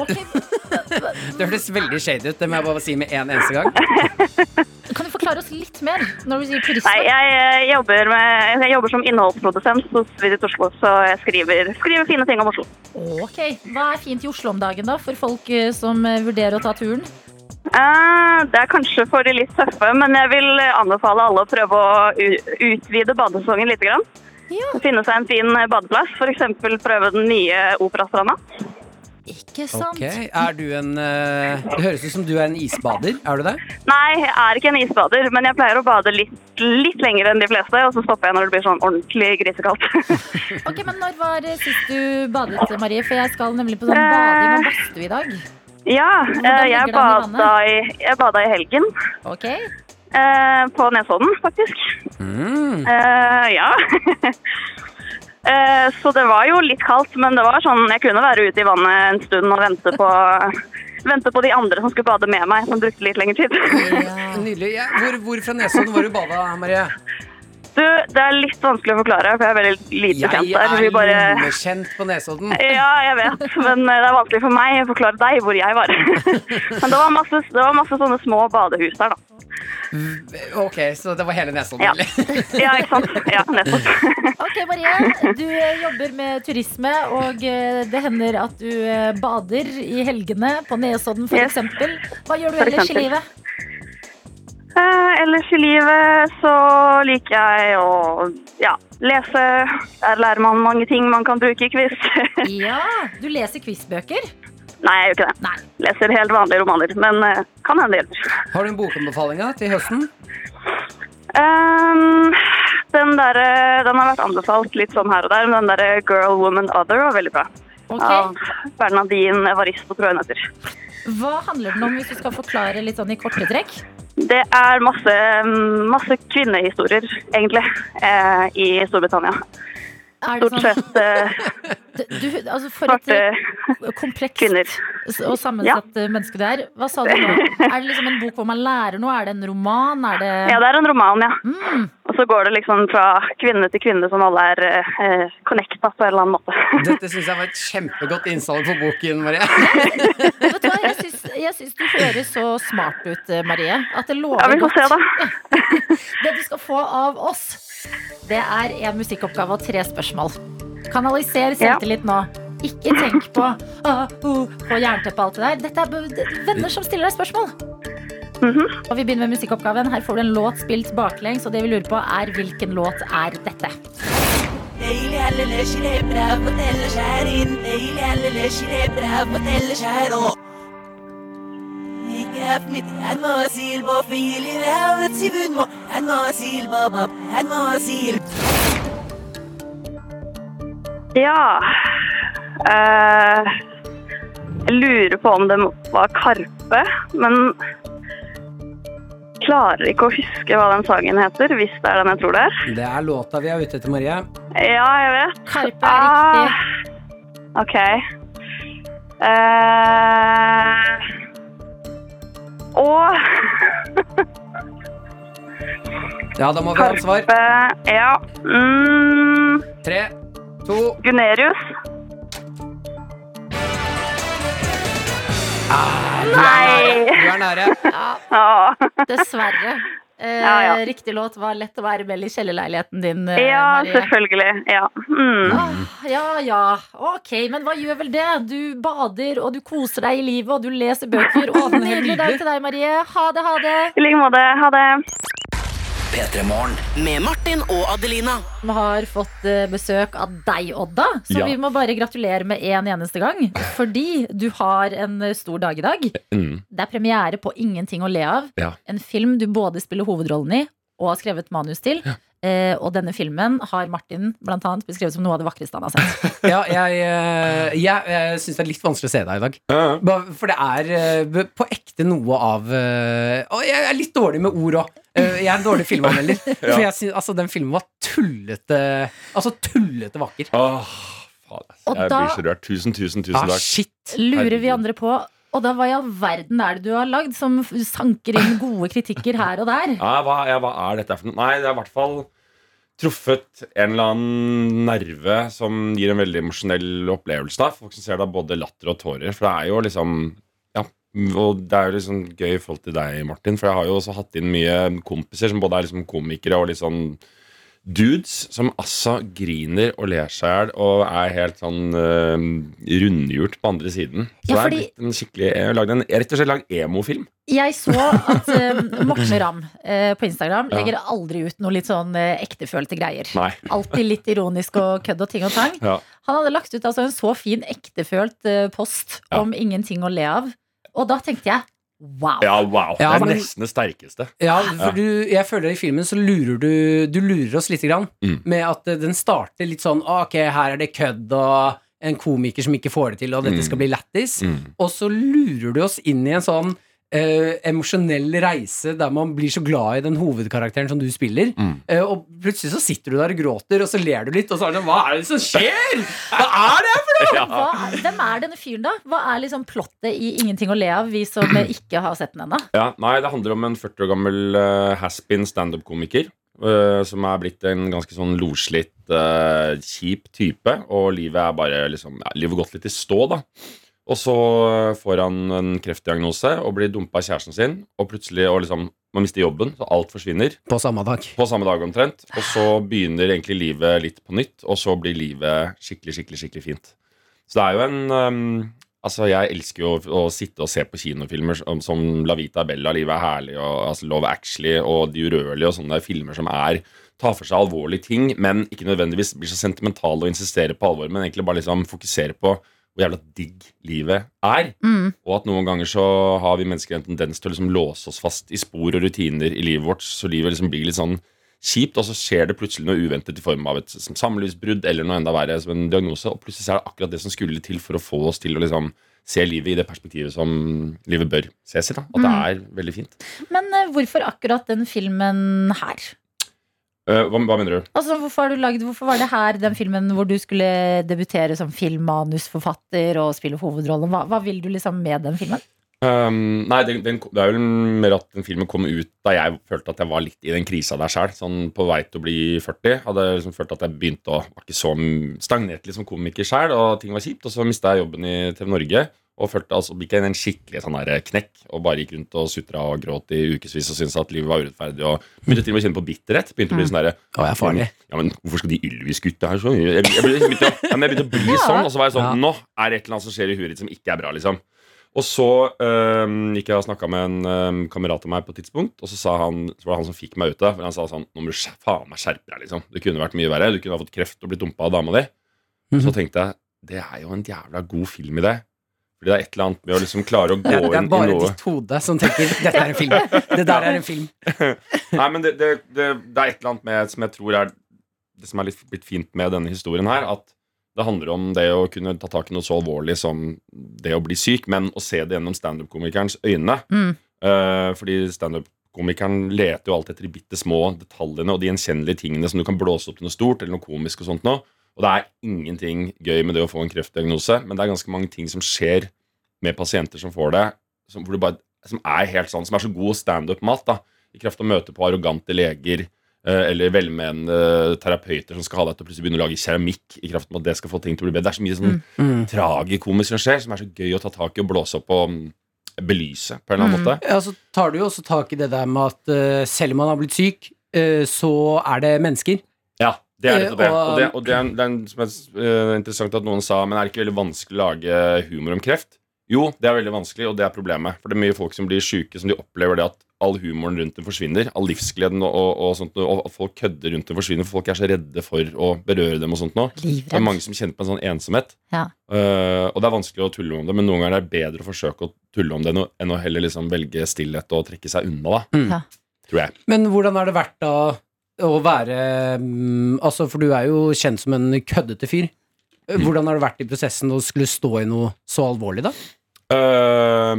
S3: Det høres veldig shady ut. Det må jeg bare si med en eneste gang.
S4: Kan du forklare oss litt mer når du sier turisme?
S14: Nei, jeg, eh, jobber med, jeg jobber som innholdsprodusent hos Visit Oslo, så jeg skriver, skriver fine ting om Oslo.
S4: Ok, Hva er fint i Oslo om dagen, da, for folk eh, som eh, vurderer å ta turen?
S14: Eh, det er kanskje for de litt tøffe, men jeg vil anbefale alle å prøve å u- utvide badesesongen litt. Grann. Finne seg en fin eh, badeplass, f.eks. prøve den nye Operastranda.
S4: Ikke
S3: Ok, er du en eh, Det høres ut som du er en isbader. Er du det?
S14: Nei, jeg er ikke en isbader, men jeg pleier å bade litt, litt lenger enn de fleste, og så stopper jeg når det blir sånn ordentlig <laughs> grisekaldt.
S4: Ok, men Når var eh, sist du badet, Marie? For jeg skal nemlig på sånn
S14: Eh,
S4: bading og badstue i dag.
S14: Ja,
S4: Hvordan
S14: eh,
S4: ligger
S14: jeg
S4: den i vannet?
S14: bada i, jeg bada i helgen. Eh,
S4: Ok.
S14: På Nesodden, faktisk.
S3: Mm.
S14: Eh, ja. <laughs> Eh, så det var jo litt kaldt, men det var sånn, jeg kunne være ute i vannet en stund og vente på, vente på de andre som skulle bade med meg, som brukte litt lengre tid.
S3: Nydelig. Ja, hvor, hvor fra Nesodden var du bada, Marie?
S14: Du, det er litt vanskelig å forklare, for jeg er veldig lite
S3: Jeg
S14: kjent der.
S3: er
S14: Vi bare...
S3: lommekjent på Nesodden.
S14: <laughs> Ja, jeg vet, men eh, det er vanskelig for meg å forklare deg hvor jeg var. <laughs> Men det var masse, det var masse sånne små badehus der, da.
S3: Ok, så det var hele Nesodden.
S14: Ja.
S3: eller?
S14: Ja, ikke sant? Sånn,
S3: <laughs>
S14: Ja, nettopp.
S4: Ok, Marie. Du eh, jobber med turisme, og eh, det hender at du eh, bader i helgene på Nesodden
S14: Yes.
S4: f.eks. Hva gjør du
S14: For
S4: ellers i
S14: eksempel.
S4: livet?
S14: Eh, ellers i livet så liker jeg å ja, lese. Der lærer man mange ting man kan bruke i quiz.
S4: Ja, du leser quizbøker.
S14: Nei, jeg gjør ikke det. Leser helt vanlige romaner, men eh, kan hende det hjelper.
S3: Har du en bokanbefaling da, til høsten?
S14: Ehm, den, der, eh, den har vært anbefalt litt sånn her og der, men den derre Girl, Woman, Other var veldig bra.
S4: Ok.
S14: Av Bernadine Evaristo, tror jeg hun heter.
S4: Hva handler den om, hvis du skal forklare litt sånn i korte trekk?
S14: Det er masse, masse kvinnehistorier, egentlig, eh, i Storbritannia.
S4: Er det sånn?
S14: Stort sett eh,
S4: Du, altså for et
S14: svarte
S4: eh, komplekst
S14: kvinner.
S4: og sammensatt eh, menneske du er, hva sa du
S14: <laughs>
S4: nå? Er det liksom en bok hvor man lærer noe? Er det en roman? Er det
S14: Ja, det er en roman, ja.
S4: Mm.
S14: Og så går det liksom fra kvinne til kvinne, sånn alle er eh, connecta på en eller annen måte.
S12: <laughs>
S3: Dette syns jeg var et kjempegodt innsalg for boken, Marie.
S4: Vet du hva,
S14: <laughs>
S4: jeg syns, jeg syns du høres så smart ut, eh, Marie. At det lover
S14: Ja, vi får
S4: godt.
S14: se, da.
S4: <laughs> Det du skal få av oss, det er en musikkoppgave og tre spørsmål. Kanaliser selvtillit nå. Ikke tenk på <laughs> ah, oh, på jernteppet og alt det der. Dette er b- d- venner som stiller deg spørsmål.
S14: Mhm.
S4: Og vi begynner med musikkoppgaven. Her får du en låt spilt baklengs, og det vi lurer på, er hvilken låt er dette?
S13: ليلي على العشي العبرة بطل شعرين ليلي على العشي العبرة بطل شعره كافنت هنواسيل بوفي اللي راوت سيبن مو هنواسيل بابا هنواسيل
S14: Ja eh, Jeg lurer på om det var Karpe, men klarer ikke å huske hva den sangen heter, hvis det er den jeg tror det er.
S3: Det er låta vi er ute etter, Marie.
S14: Ja, jeg vet.
S4: Karpe
S14: er riktig. OK. Eh, og
S3: <laughs> Ja, da må vi ha et svar.
S14: Karpe, Ja. Mm,
S3: Tre, to
S14: Gunerius.
S4: Nei!
S3: Du er Ah, nære.
S14: <laughs> Ja.
S4: Dessverre. Eh,
S14: Ja, ja.
S4: Riktig låt var lett å være vel i kjellerleiligheten din, eh,
S14: Ja,
S4: Marie.
S14: selvfølgelig. Ja. Mm.
S4: Ja, ja. Ok, men hva gjør vel det? Du bader, og du koser deg i livet, og du leser bøker. Og
S2: Det er
S4: nydelig dag
S2: nydelig.
S4: til deg, Marie. Ha det, ha det.
S14: I like måte. Ha det.
S2: P3 Morgen.
S5: Med Martin og Adelina.
S4: Vi har fått eh, besøk av deg, Odda. Så
S5: Ja.
S4: vi må bare gratulere med en eneste gang. Fordi du har en eh, stor dag i dag.
S15: Mm.
S4: Det er premiere på Ingenting å le av.
S15: Ja.
S4: En film du både spiller hovedrollen i og har skrevet manus til. Eh, og denne filmen har Martin blant annet beskrevet som noe av det vakreste han har sett.
S3: Ja, jeg, eh, jeg, jeg syns det er litt vanskelig å se deg i dag. Bare For det er eh, b- på ekte noe av eh, Og jeg er litt dårlig med ord òg. Jeg er en dårlig
S15: <laughs>
S3: filmanmelder. For jeg synes, altså, den filmen var tullete Altså tullete vakker.
S4: Og
S15: Jeg
S4: da-
S15: blir så rørt. Tusen, tusen, tusen
S3: Ah,
S15: takk.
S4: Lurer vi
S15: Herregud.
S4: andre på Og da hva i all verden er det du har lagd som f- sanker inn gode kritikker her og der?
S15: Ja, hva, ja, hva er dette for noe? Nei, det er i hvert fall truffet en eller annen nerve som gir en veldig emosjonell opplevelse. Da. Folk som ser da både latter og tårer. For det er jo liksom Ja, og det er jo liksom gøy i forhold til deg, Martin. For jeg har jo også hatt inn mye kompiser som både er liksom komikere og litt sånn dudes som altså griner og ler seg i hjel og er helt sånn uh, rundhjult på andre siden. Så
S4: Ja,
S15: det er blitt en skikkelig Jeg har lagd en, jeg har rett og slett lagd emofilm.
S4: Jeg så at eh, Morten Ramm eh, på Instagram
S15: Ja.
S4: legger aldri ut noe litt sånn eh, ektefølte greier.
S15: Nei.
S4: Alltid litt ironisk og kødd og ting og tang.
S15: Ja.
S4: Han hadde lagt ut altså, en så fin ektefølt eh, post om ingenting å le av. Og da tenkte jeg wow.
S15: Ja, wow.
S3: Ja,
S15: det er
S3: men-
S15: nesten det sterkeste.
S3: Ja, for du, jeg føler i filmen så lurer du Du lurer oss lite grann
S15: Mm.
S3: med at eh, den starter litt sånn ah, Ok, her er det kødd og en komiker som ikke får det til, og dette
S15: Mm.
S3: skal bli lættis.
S15: Mm.
S3: Og så lurer du oss inn i en sånn eh, emosjonell reise der man blir så glad i den hovedkarakteren som du spiller,
S15: Mm.
S3: eh, og plutselig så sitter du der og gråter, og så ler du litt, og så er det sånn Hva er det som skjer?! Hva er det for noe?!
S4: Hva, hvem er denne fyren, da? Hva er liksom plottet i Ingenting å le av, vi som eh, ikke har sett den ennå?
S15: Ja, nei, det handler om en 40 år gammel uh, has-been standup-komiker. eh, som er blitt en ganske sånn loslitt, eh, kjip type. Og livet er bare liksom ja, Livet har gått litt i stå, da. Og så eh, får han en kreftdiagnose og blir dumpa av kjæresten sin. Og plutselig og liksom, man mister jobben, så alt forsvinner.
S3: På samme dag.
S15: På samme dag omtrent. Og så begynner egentlig livet litt på nytt, og så blir livet skikkelig, skikkelig, skikkelig fint. Så det er jo en ehm, Altså, jeg elsker jo å, å sitte og se på kinofilmer som, som La Vita Bella, Livet er herlig, og altså, Love Actually og De urørlige og sånne der filmer som er tar for seg alvorlige ting, men ikke nødvendigvis blir så sentimentale og insisterer på alvor, men egentlig bare liksom fokuserer på hvor jævla digg livet er.
S4: Mm.
S15: Og at noen ganger så har vi mennesker en tendens til å liksom låse oss fast i spor og rutiner i livet vårt, så livet liksom blir litt sånn kjipt, og så skjer det plutselig noe uventet i form av et som samlivsbrudd eller noe enda verre som en diagnose, og plutselig så er det akkurat det som skulle til for å få oss til å liksom se livet i det perspektivet som livet bør ses i. da, At det er veldig fint.
S4: Men eh, hvorfor akkurat den filmen her?
S15: Eh, hva, hva mener du?
S4: Altså, hvorfor, har du laget, hvorfor var det her den filmen hvor du skulle debutere som filmmanusforfatter og spille hovedrollen? Hva, hva vil du liksom med den filmen?
S15: Um, nei, den, den, det er vel mer at den filmen kom ut da jeg følte at jeg var litt i den krisa der sjøl. Sånn på vei til å bli 40. Hadde jeg liksom følt at jeg begynte å var ikke så stagnert litt som komiker sjøl, og ting var kjipt. Og så mista jeg jobben i TV Norge og følte altså gikk jeg inn i en skikkelig sånn der knekk og bare gikk rundt og sutra og gråt i ukevis og syntes at livet var urettferdig. Og begynte til og med å kjenne på bitterhet. Begynte å bli sånn derre
S3: Mm. jeg er farlig.
S15: Ja, men hvorfor skal de Ylvis-gutta her sånn? Jeg, jeg, begynte, jeg, begynte, å- ja, men jeg begynte å
S3: <laughs>
S15: bli sånn, og så var jeg sånn Nå er det et eller annet som skjer i huet ditt som ikke er bra, liksom. Og så øhm, gikk jeg og snakka med en øhm, kamerat av meg på et tidspunkt, og så, sa han, så var det han som fikk meg ut av det. for Han sa sånn Nå må du skjer- faen meg skjerpe deg, liksom. Det kunne vært mye verre. Du kunne ha fått kreft og blitt dumpa av dama di.
S3: Mhm.
S15: Så tenkte jeg det er jo en jævla god filmidé. Fordi det er et eller annet med å liksom klare
S3: <laughs>
S15: å gå
S3: Det, det
S15: inn
S3: er
S15: i
S3: bare
S15: noe
S3: ditt hode som tenker 'dette er en film'. Det der er en film.
S15: <laughs> Nei, men det, det, det, det er et eller annet med, som jeg tror er det som er litt, litt fint med denne historien her, at det handler om det å kunne ta tak i noe så alvorlig som det å bli syk, men å se det gjennom standup-komikerens øyne.
S4: Mm.
S15: Eh, fordi standup-komikeren leter jo alltid etter de bitte små detaljene og de gjenkjennelige tingene som du kan blåse opp til noe stort eller noe komisk og sånt nå. Og det er ingenting gøy med det å få en kreftdiagnose, men det er ganske mange ting som skjer med pasienter som får det, som, hvor du bare, som er helt sånn, som er så god standup-mat, da, i kraft av å møte på arrogante leger eh, eller velmenende terapeuter som skal ha deg til å plutselig begynne å lage keramikk i kraft av at det skal få ting til å bli bedre. Det er så mye sånn
S3: Mm.
S15: tragikomisk som skjer, som er så gøy å ta tak i og blåse opp og mm, belyse på en eller annen måte.
S3: Ja, så tar du jo også tak i det der med at eh, selv om man har blitt syk, eh, så er det mennesker.
S15: Ja, det er nettopp det.
S3: Eh, og-
S15: Og det, og det er, det er en- som er s- eh, interessant at noen sa Men er det ikke veldig vanskelig å lage humor om kreft? Jo, det er veldig vanskelig, og det er problemet. For det er mye folk som blir syke, som de opplever det at all humoren rundt dem forsvinner. All livsgleden og, og, og sånt, og at folk kødder rundt dem forsvinner, for folk er så redde for å berøre dem og sånt nå.
S4: Livredd.
S15: Det er mange som kjenner på en sånn ensomhet.
S4: Ja.
S15: Eh, og det er vanskelig å tulle om det, men noen ganger er det bedre å forsøke å tulle om det enn å, enn å heller liksom velge stillhet og trekke seg unna, da.
S3: Ja.
S15: Tror jeg.
S3: Men hvordan har det vært da å være mm, Altså, for du er jo kjent som en køddete fyr.
S15: Mm.
S3: Hvordan har det vært i prosessen å skulle stå i noe så alvorlig, da?
S15: Eh,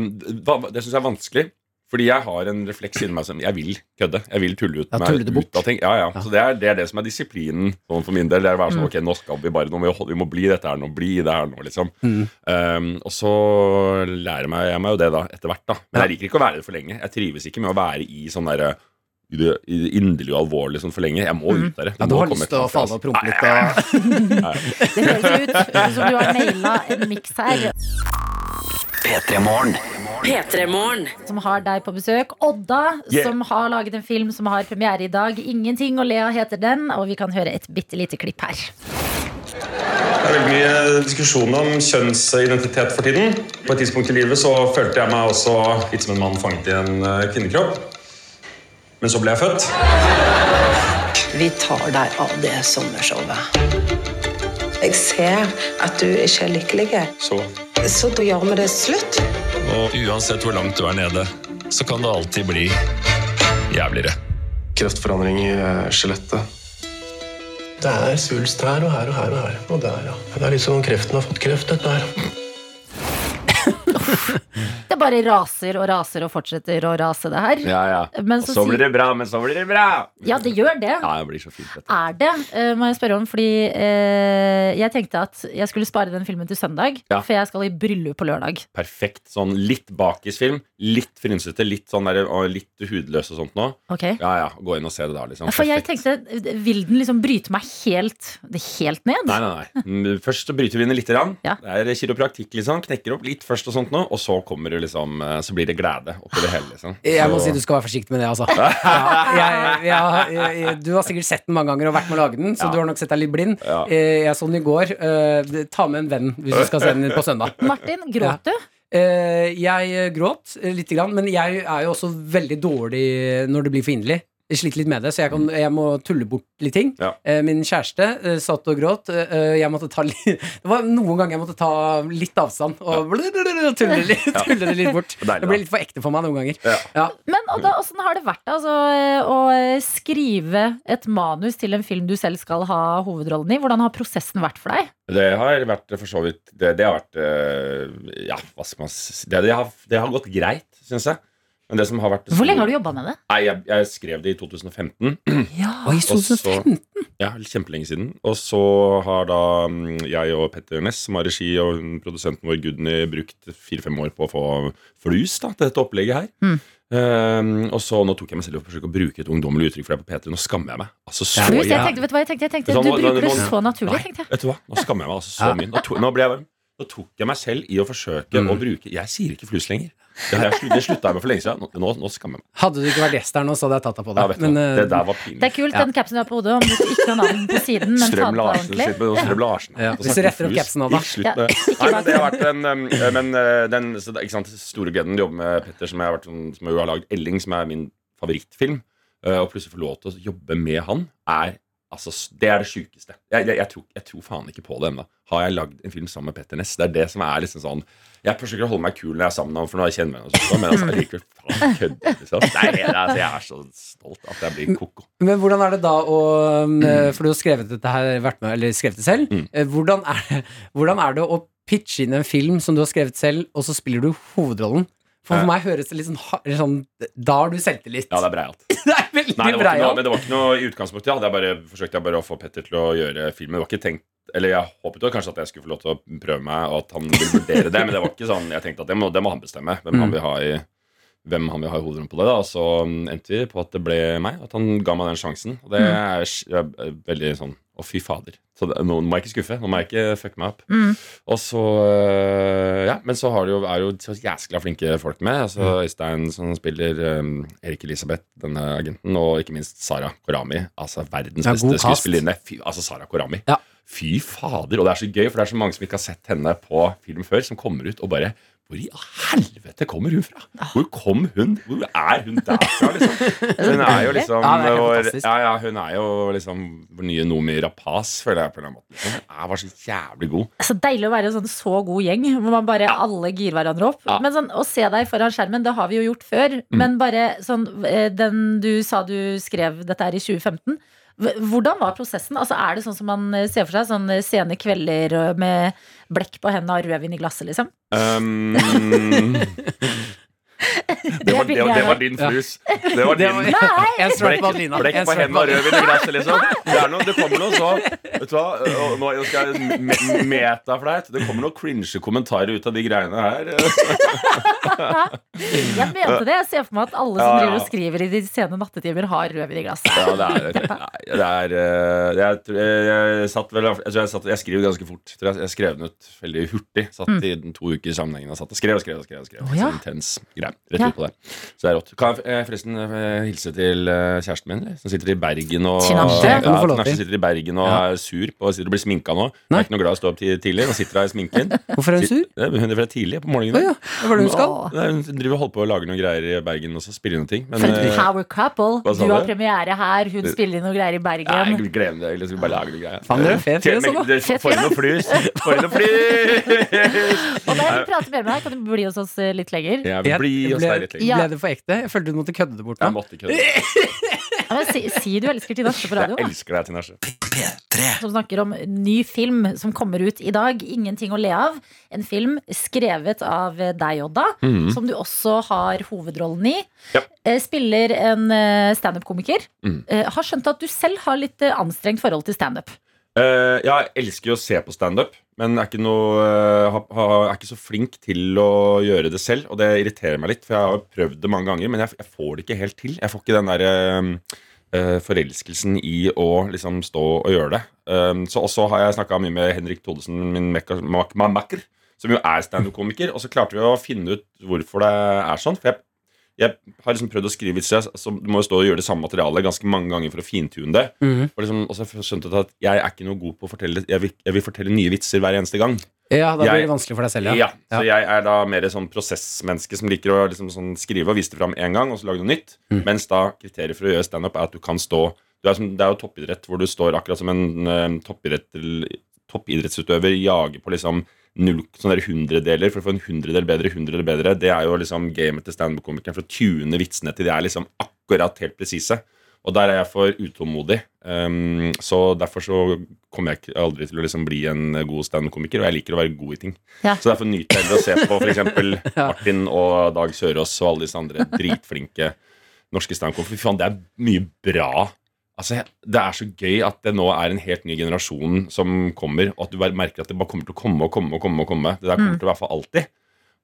S15: hva- det syns jeg er vanskelig. Fordi jeg har en refleks inni meg som jeg vil kødde. Jeg vil tulle ut,
S3: Ja,
S15: meg,
S3: tulle det
S15: ut av ting. Ja, ja. Så det er, det er det som er disiplinen sånn for min del. Det er å være sånn,
S3: Mm.
S15: ok, nå skal vi bare, nå må vi, holde- vi må bli dette her nå, bli det her nå, liksom.
S3: Mm.
S15: Eh, og så lærer meg, jeg meg jo det da, etter hvert. da Men jeg liker ikke å være det for lenge. Jeg trives ikke med å være i sånn derre i det i det inderlige og alvorlige sånn for lenge. Jeg må ut der.
S3: Mm. Ja, du har lyst til å
S15: altså.
S3: falle og prompe litt og
S4: Det
S15: <laughs>
S4: høres ut som du har naila en miks her.
S2: P3 Morgen.
S4: Som har deg på besøk. Odda,
S2: Yeah.
S4: som har laget en film som har premiere i dag. 'Ingenting å le av' heter den, og vi kan høre et bitte lite klipp her.
S16: Det er veldig mye diskusjon om kjønnsidentitet for tiden. På et tidspunkt i livet så følte jeg meg også litt som en mann fanget i en eh, kvinnekropp. Men så ble jeg født.
S17: Vi tar deg av det sommershowet. Jeg ser at du ikke er lykkelig,
S16: Så
S17: så da gjør vi det slutt.
S16: Og uansett hvor langt du er nede, så kan det alltid bli jævligere.
S18: Kreftforandring i eh, skjelettet. Det er svulst her og her og her og her. Og der, ja. Det er liksom kreften har fått kreft, dette her.
S4: Det bare raser og raser og fortsetter å rase, det her.
S15: Ja, ja.
S4: Men
S15: og
S4: så
S15: så blir
S4: sier-
S15: det bra, men så blir det bra!
S4: Ja, det gjør det.
S15: Ja, det blir så fint. dette.
S4: Er det, eh, må jeg spørre om, fordi eh, jeg tenkte at jeg skulle spare den filmen til søndag,
S15: Ja.
S4: for jeg skal i bryllup på lørdag.
S15: perfekt sånn litt bakisfilm. Litt frynsete, litt sånn der, og litt hudløs og sånt nå.
S4: Ok.
S15: Ja, ja, Gå inn og se det da, liksom.
S4: For jeg
S15: Perfekt.
S4: tenkte, vil den liksom bryte meg helt, det helt ned?
S15: Nei, nei, nei. Mm, Først så bryter vi ned litt. Rann. Det er kiropraktikk, liksom. Knekker opp litt først og sånt nå, og så kommer det liksom eh, Så blir det glede oppi det hele, liksom.
S3: Jeg må
S15: Så-
S3: si du skal være forsiktig med det, altså. Ja, jeg, jeg, jeg, du har sikkert sett den mange ganger og vært med å lage den, så
S15: Ja.
S3: du har nok sett deg litt blind.
S15: Ja.
S3: Eh, Jeg så den i går. Eh, det- Ta med en venn hvis du skal se den på søndag.
S4: Martin, gråt du?
S3: Eh, Jeg eh, gråt eh, lite grann, men jeg er jo også veldig dårlig når det blir for inderlig. Jeg sliter litt med det, så jeg, kan,
S15: Mm.
S3: jeg må tulle bort litt ting. Eh, Min kjæreste eh, satt og gråt. Eh, Jeg måtte ta litt, <laughs> det var noen ganger jeg måtte ta litt avstand og blablabla, <laughs> tulle, litt,
S15: Ja.
S3: tulle det litt bort.
S15: Deilig,
S3: Det
S15: da.
S3: ble litt for ekte for meg noen ganger.
S15: Ja.
S3: Ja.
S4: Men og da, hvordan har det vært altså, å eh, skrive et manus til en film du selv skal ha hovedrollen i? Hvordan har prosessen vært for deg?
S15: Det har vært for så vidt Det, det har vært eh, Ja, hva skal man si det, det, har, det har gått greit, syns jeg. Men det som har vært
S4: Hvor lenge har du jobba med det?
S15: Nei, jeg, jeg skrev det i 2015. <clears throat>
S4: Ja.
S3: Oi,
S15: Og så- ja, kjempelenge siden. Og så har da mm, jeg og Petter Næss, som har regi, og hun, produsenten vår Gudny, brukt fire-fem år på å få flus da, til dette opplegget her.
S4: Mm.
S15: Ehm, og så nå tok jeg meg selv i å forsøke å bruke et ungdommelig uttrykk for det på P3. Nå skammer jeg meg. Altså, så
S4: Flus, jeg
S15: jævlig.
S4: tenkte, vet du hva jeg tenkte? Jeg tenkte
S15: Sånn,
S4: du
S15: nå-
S4: bruker det
S15: nå-
S4: så naturlig,
S15: Nei,
S4: tenkte jeg.
S15: Vet du hva? Nå skammer jeg meg altså så
S4: Ja.
S15: mye. Nå, to, nå ble jeg varm. Nå tok jeg meg selv i å forsøke
S3: Mm.
S15: å bruke Jeg sier ikke flus lenger. Det, har jeg slutt, det slutta jeg med for lenge siden. Nå, nå, nå skammer jeg meg.
S3: Hadde du ikke vært gjest her nå, så hadde jeg tatt deg på det.
S15: Ja, vet du hva?
S3: eh,
S15: Det der var pinlig.
S4: Det er kult,
S3: Ja.
S4: den capsen du har på hodet, om du ikke har navn på siden, men ta
S15: Strøm
S4: den på
S15: Larsen
S4: ordentlig.
S15: sitter med noe Strøm Larsen.
S3: Ja.
S15: Og så
S3: Hvis du retter opp
S15: flus.
S3: capsen nå, da.
S15: Ikke Slutt med
S4: Ja, ikke
S15: Nei, men det har vært en um, Men uh, den så det- ikke sant, store gleden å jobbe med Petter, som, jeg har vært, sånn- som jo har laget 'Elling', som er min favorittfilm, uh, og plutselig få lov til å jobbe med han, er altså s- Det er det sjukeste. Jeg, jeg, jeg, tror, jeg tror faen ikke på det ennå. Har jeg lagd en film sammen med Petter Næss? Det er det som er liksom sånn Jeg forsøker å holde meg kul når jeg er sammen med ham, for når jeg kjenner henne, og sånn, men altså, jeg liker faen kødde, liksom. Nei, jeg, altså, jeg er så stolt at jeg blir koko.
S3: Men hvordan er det da å
S15: Mm.
S3: eh, For du har skrevet dette her, vært med, eller skrevet det selv. Eh, Hvordan, er det, hvordan er det å pitche inn en film som du har skrevet selv, og så spiller du hovedrollen? For
S15: Ja.
S3: for meg høres det litt sånn, ha- eller sånn Da har du selvtillit.
S15: Ja, det er breialt.
S3: <laughs> veldig
S15: Nei, det var ikke
S3: breialt.
S15: noe, men det var ikke noe i utgangspunktet. Jeg hadde jeg bare forsøkte jeg bare å få Petter til å gjøre filmen. Det var ikke tenkt eller jeg håpet jo kanskje at jeg skulle få lov til å prøve meg, og at han ville vurdere det. Men det var ikke sånn, jeg tenkte at det må, det må han bestemme,
S3: Mm.
S15: hvem han vil ha i hvem han vil ha i hovedrollen på det. da Og så mm, endte vi på at det ble meg. At han ga meg den sjansen. Og det
S3: Mm.
S15: er sj- jeg er veldig sånn Å, fy fader. Så det, nå må jeg ikke skuffe. Nå må jeg ikke fucke meg opp.
S3: Mm.
S15: Og så øh, Ja, men så har det jo, er jo så jæskla flinke folk med. Altså
S3: Mm.
S15: Øystein som spiller øhm, Erik Elisabeth, denne agenten, og ikke minst Sara Korami. Altså verdens
S3: Ja, god
S15: beste
S3: cast.
S15: skuespillerinne. Fy, altså Sara Korami. Fy fader. Og det er så gøy, for det er så mange som ikke har sett henne på film før, som kommer ut og bare Hvor i helvete kommer hun fra?
S3: Ah.
S15: Hvor kom hun? Hvor er hun derfra,
S3: <laughs>
S15: liksom? Hun er jo liksom
S3: Ja, det er helt
S15: vår,
S3: fantastisk.
S15: ja, ja, hun er jo liksom vår nye Nomi Rapace, føler jeg på en eller annen måte. Liksom. Hun var så jævlig god.
S4: Så deilig å være en sånn så god gjeng, hvor man bare alle girer hverandre opp.
S15: Ja. Mm.
S4: Men sånn, Å se deg foran skjermen, det har vi jo gjort før. Men bare sånn, eh, den du sa du skrev dette her i 2015. Hv- Hvordan var prosessen? Altså, er det sånn som man eh, ser for seg? Sånn eh, sene kvelder eh, med blekk på hendene og rødvin i glasset, liksom? <laughs>
S15: Um, det, var,
S4: vil
S15: det, var-
S4: jeg
S15: det var
S4: da.
S15: din
S4: Ja.
S15: flus. Det var
S3: Det
S15: din.
S3: var- Nei! En strømpe
S15: Blekk-
S3: på Adelina.
S15: Blekk
S3: En
S15: på
S3: strømpe
S15: hendene og
S3: på
S15: rødvin i glasset, liksom. Det, er noe, det kommer noe
S3: <laughs>
S15: så Vet du hva, Eh, og nå nå skal jeg me- metaflaut. Det kommer noen cringe kommentarer ut av de greiene her.
S4: Jeg mente det. Jeg ser for meg at alle
S15: Ja,
S4: som
S15: ja.
S4: driver og skriver i de sene nattetimer, har rødvin i glasset.
S15: Ja, det er Nei, det er eh, Jeg, tror- jeg, jeg satt vel Jeg, tror jeg, satt, jeg skriver ganske fort. Tror jeg, jeg skrev den ut veldig hurtig. Satt
S4: Mm.
S15: i den to uker sammenhengende og satt og skrev og skrev. og skrev, og skrev.
S4: Å, ja.
S15: Så intens greie. Rett
S4: Ja.
S15: ut på det. Så det er rått. Kan jeg eh, forresten eh, hilse til eh, kjæresten min, eller? som sitter i Bergen og
S3: Tinashe.
S15: Ja,
S3: Det kan du få lov til.
S15: Tinashe sitter i Bergen og
S3: Ja.
S15: er sur på sitter og blir sminka nå. Hun er ikke noe glad i å stå opp ti- tidlig. Nå sitter hun i sminken.
S3: <laughs> Hvorfor er hun sur?
S15: Sitt- Hun er fra tidlig på morgenen.
S3: Å ja, hva var det hun skal?
S15: Nei, hun driver og holder på å lage noen greier i Bergen også. Spiller noen ting. Men,
S4: For et
S15: eh,
S4: power couple.
S15: hva sa
S4: Du har
S15: du?
S4: premiere her, hun spiller inn noen greier i
S15: Nei,
S4: Bergen.
S15: glem det. Eller skal vi bare lage noe greier?
S3: Faen, dere er fet
S15: Tjent-
S3: fyr, altså, da.
S15: det-
S4: Fet
S15: For
S4: fyr,
S15: noe
S4: da.
S15: flus! For noe flus!
S4: Og da jeg vil prate mer med deg, kan du bli hos oss eh, litt lenger?
S15: Jeg vil bli hos deg litt lenger.
S4: Ja.
S3: Ble det for ekte? Jeg følte du måtte kødde det bort.
S15: Jeg måtte kødde.
S4: Ja, men si, si du elsker Tina Asle på
S15: Jeg
S4: radioen, da.
S15: elsker deg, Tinashe.
S4: Som snakker om ny film som kommer ut i dag. 'Ingenting å le av'. En film skrevet av eh, deg, Odda,
S13: Mhm.
S4: som du også har hovedrollen i.
S13: Ja.
S4: Eh, Spiller en eh, standup-komiker.
S15: Mm.
S4: Eh, Har skjønt at du selv har litt eh, anstrengt forhold til standup.
S15: Eh, ja, jeg elsker jo å se på standup, men er ikke, noe, eh, ha, ha, er ikke så flink til å gjøre det selv. Og det irriterer meg litt, for jeg har prøvd det mange ganger, men jeg, jeg får det ikke helt til. Jeg får ikke den der eh, eh, forelskelsen i å liksom stå og gjøre det. Um, så også har jeg snakka mye med Henrik Thodesen, min mekka- mak- ma- makker, som jo er standup-komiker, og så klarte vi å finne ut hvorfor det er sånn. For jeg jeg har liksom prøvd å skrive vitser, så du må jo stå og gjøre det samme materialet ganske mange ganger for å fintune det.
S3: Mhm.
S15: Og liksom, og så har jeg skjønt at jeg er ikke noe god på å fortelle Jeg vil, jeg vil fortelle nye vitser hver eneste gang.
S3: Ja, da blir
S15: Jeg-
S3: det vanskelig for deg selv,
S15: Ja,
S3: ja.
S15: Så jeg er da mer et sånn prosessmenneske som liker å liksom sånn skrive og vise det fram én gang, og så lage noe nytt.
S3: Mm.
S15: Mens da kriteriet for å gjøre standup er at du kan stå du er som, Det er jo toppidrett hvor du står akkurat som en eh, toppidrett, toppidrettsutøver jager på liksom null, sånne der hundredeler for å få en hundredel bedre, hundredel bedre. Det er jo liksom gamet til standup-komikeren for å tune vitsene til de er liksom akkurat helt presise. Og der er jeg for utålmodig. Um, så derfor så kommer jeg ikke- aldri til å liksom bli en god standup-komiker, og jeg liker å være god i ting.
S4: Ja.
S15: Så derfor nyter jeg heller å se på f.eks. Martin og Dag Sørås og alle disse andre dritflinke norske standup-komikere. Fy faen, det er mye bra. Altså, jeg- Det er så gøy at det nå er en helt ny generasjon som kommer, og at du bare merker at det bare kommer til å komme og komme og komme. og komme. Det der kommer
S19: Mm.
S15: til å være for alltid.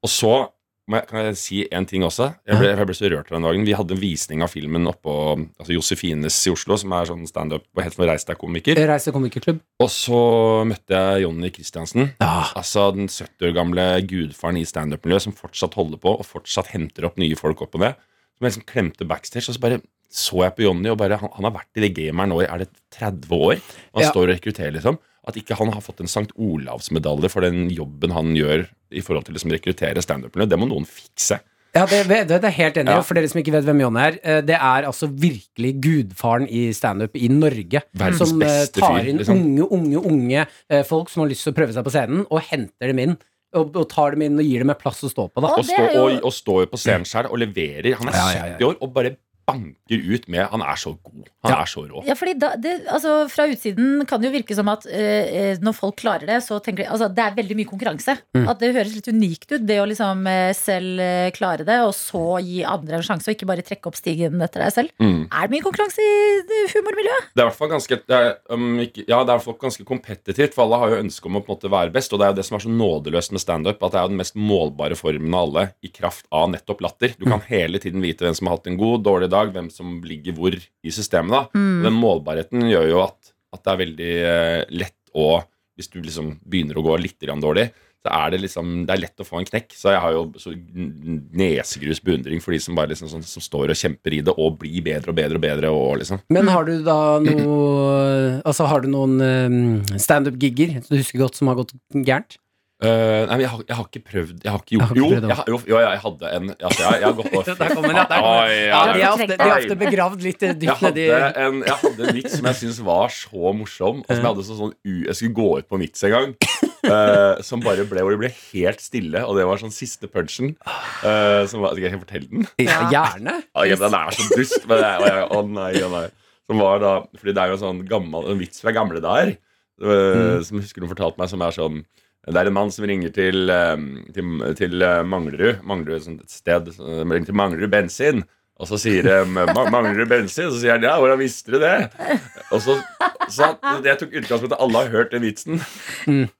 S15: Og så må jeg, kan jeg si en ting også. Jeg ble, jeg ble så rørt den dagen. Vi hadde en visning av filmen oppå altså Josefines i Oslo, som er sånn standup og helt sånn reis deg-komiker.
S3: Reise komikerklubb.
S15: Og så møtte jeg Jonny Christiansen. Altså den 70 år gamle gudfaren i standup-miljøet som fortsatt holder på og fortsatt henter opp nye folk opp og ned. Som jeg liksom klemte backstage, og så bare så jeg på Jonny, og bare han, han har vært i det gamet her nå i er det 30 år. Og han
S19: Ja.
S15: står og rekrutterer, liksom. At ikke han har fått en St. Olavsmedalje for den jobben han gjør i forhold til liksom rekruttere standup-miljøet, det må noen fikse.
S3: Ja, det, det, det er jeg helt enig i.
S15: Ja.
S3: og For dere som ikke vet hvem John er, eh, det er altså virkelig gudfaren i standup i Norge.
S15: Verdens
S3: som eh,
S15: beste fyr,
S3: tar inn
S15: liksom.
S3: unge, unge, unge eh, folk som har lyst til å prøve seg på scenen, og henter dem inn. Og, og tar dem inn og gir dem en plass å stå på, da.
S15: og, stå, og, og står jo på scenen selv og leverer. Han er 70 år og bare banker ut med Han er så god. Han er så rå.
S4: Ja, fordi da, det, altså, Fra utsiden kan det jo virke som at eh, eh, når folk klarer det, så tenker de altså, Det er veldig mye konkurranse.
S15: Mm.
S4: At det høres litt unikt ut, det å liksom eh, selv eh, klare det, og så gi andre en sjanse, og ikke bare trekke opp stigen etter deg selv.
S15: Mm.
S4: Er det mye konkurranse i det humormiljøet?
S15: Det er i hvert fall ganske det er, um, ikke, Ja, det er i hvert fall ganske kompetitivt, for alle har jo ønske om å på en måte være best, og det er jo det som er så nådeløst med standup, at det er jo den mest målbare formen av alle i kraft av nettopp latter. Du kan hele tiden vite hvem som har hatt en god, dårlig dag, hvem som ligger hvor i systemet, da.
S19: Mm.
S15: Og Den målbarheten gjør jo at, at det er veldig eh, lett å Hvis du liksom begynner å gå litt grann dårlig, så er det liksom Det er lett å få en knekk. Så jeg har jo så nesegrus beundring for de som bare liksom sånn, som står og kjemper i det, og blir bedre og bedre og bedre og, og liksom.
S3: Men har du da noe Altså, har du noen eh, standup-gigger som du husker godt, som har gått gærent?
S15: Eh, nei, men jeg har, jeg har ikke prøvd Jeg har ikke gjort
S3: Jeg har ikke
S15: Jo,
S3: prøvd det.
S15: jeg, har- jo, jo jeg, jeg hadde en altså, jeg, jeg har
S3: <laughs>
S15: gått over
S3: Der kommer den, der kommer den. Ja, de er ofte- de er ofte begravd litt, eh, dypt
S15: Jeg hadde
S3: nedi-
S15: en, jeg hadde en vits som jeg syntes var så morsom. Og som jeg hadde sånn, sånn u- Jeg skulle gå ut på en vits en gang. eh, som bare ble, hvor det ble helt stille, og det var sånn siste punchen. eh, som var, skal jeg fortelle den?
S3: Ja, gjerne.
S15: Ja, ja, den er så dust. Men jeg, og jeg, å nei, å nei. Som var da, fordi det er jo en sånn gammel, en vits fra gamle dager
S3: Mm.
S15: øh, som jeg husker hun fortalte meg, som er sånn Det er en mann som ringer til, øhm, til, til øh, Manglerud, Manglerud sånn et sted, øh, ringer til Manglerud bensin. Og så sier de «Ma- 'Mangler du bensin?' Så sier han 'Ja, hvordan visste du det?' Og så, så Jeg tok utgangspunkt i at alle har hørt den vitsen.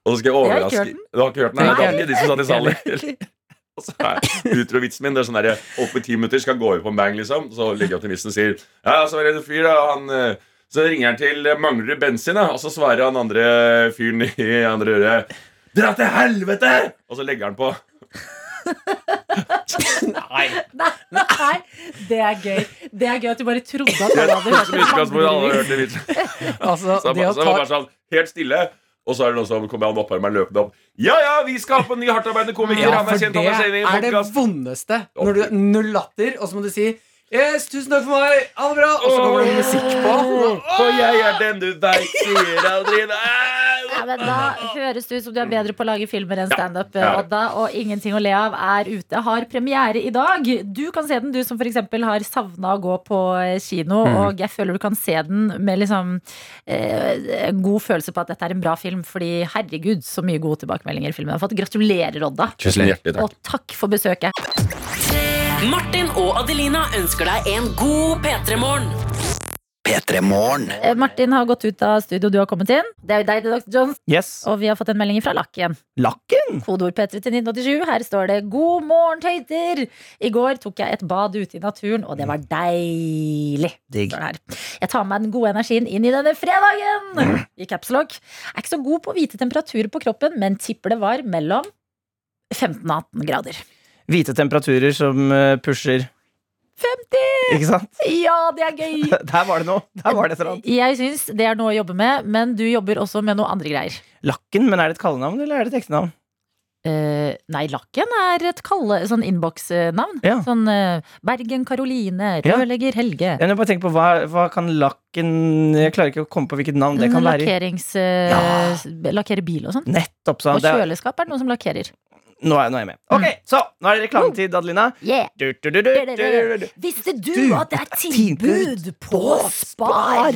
S15: Og så skal
S19: Jeg har
S15: jeg
S19: ikke
S15: overraske
S19: hørt den.
S15: Du har ikke hørt den? Mm. Nei,
S19: Nei.
S15: det hadde ikke de som satt i
S13: <laughs>
S15: salen. Og så er utrovitsen min Det er sånn der Oppe i ti minutter Skal gå over på en bang liksom Så legger jeg opp til vitsen og sier Ja, så var det en fyr da Han eh, Så ringer han til eh, Mangler du bensin da Og så svarer han andre fyren i andre øret Dra til helvete Og så legger han på Nei
S4: <laughs> Nei, nei, det er gøy. Det er gøy at du bare
S15: <laughs>
S4: trodde at
S15: Jeg
S4: alle hadde hørt
S15: tok utgangspunkt i alle
S4: det.
S15: hørte vitsen
S3: Altså,
S15: så, så
S3: det å
S15: det var
S3: ta-
S15: bare sånn Helt stille og så er det noen som kommer han opphører meg løpende opp Ja, ja, vi skal ha på en ny hardtarbeidende komiker
S3: Ja,
S15: Han
S3: for
S15: er kjent, han er kjent
S3: det
S15: i
S3: er det
S15: podcast
S3: vondeste. Når du er null latter, og så må du si Yes, tusen takk for meg! Ha det bra! Og så kommer det musikk på.
S15: For jeg er den du veit sier aldri
S4: Ja, men da høres det ut som du er bedre på å lage filmer enn standup,
S15: Ja.
S4: Odda. Og 'Ingenting å le av' er ute. Har premiere i dag. Du kan se den, du som f.eks. har savna å gå på kino.
S15: Mm.
S20: Mhm.
S4: Og jeg føler du kan se den med liksom eh, en god følelse på at dette er en bra film. Fordi herregud, så mye gode tilbakemeldinger filmen har fått. Gratulerer, Odda.
S15: Tusen hjertelig takk.
S4: Og takk for besøket.
S5: Martin og Adelina ønsker deg en god P3-morgen.
S2: P3-morgen.
S4: Eh, Martin har gått ut av studio, du har kommet inn. Det er jo deg, det, Dr. Jones.
S20: Yes.
S4: Og vi har fått en melding fra Lakken.
S20: Lakken?
S4: Kodeord P3 til 1987. Her står det 'God morgen, tøyter'. I går tok jeg et bad ute i naturen, og det var deilig.
S20: Mm. Digg.
S4: står det her. Jeg tar med meg den gode energien inn i denne
S20: Mm.
S4: fredagen! I caps lock. Er ikke så god på å vite temperaturer på kroppen, men tipper det var mellom 15 og 18 grader.
S20: Hvite temperaturer som eh, pusher 50! Ikke sant? <laughs>
S4: Ja, det er gøy!
S20: Der var det noe. Der var det et eller annet.
S4: Jeg syns det er noe å jobbe med, men du jobber også med noe andre greier.
S20: Lakken, men er det et kallenavn eller er det et ektenavn?
S4: Eh, nei, Lakken er et kalle, sånn innboksnavn. Sånn eh, Bergen Karoline,
S20: Ja.
S4: rørlegger Helge.
S20: Jeg må bare tenke på hva, hva kan lakken Jeg klarer ikke å komme på hvilket navn det kan være. i.
S4: Lakkerings... eh, Lakkere bil og sånn.
S20: Nettopp, sa han.
S4: Og
S20: Det er-
S4: kjøleskap er det noen som lakkerer.
S20: Nå er, nå er jeg med. Ok, Så nå er det reklametid, Adelina.
S10: Yeah.
S20: Du, du, du, du, du, du, du.
S10: Visste du at det er tilbud på Spar?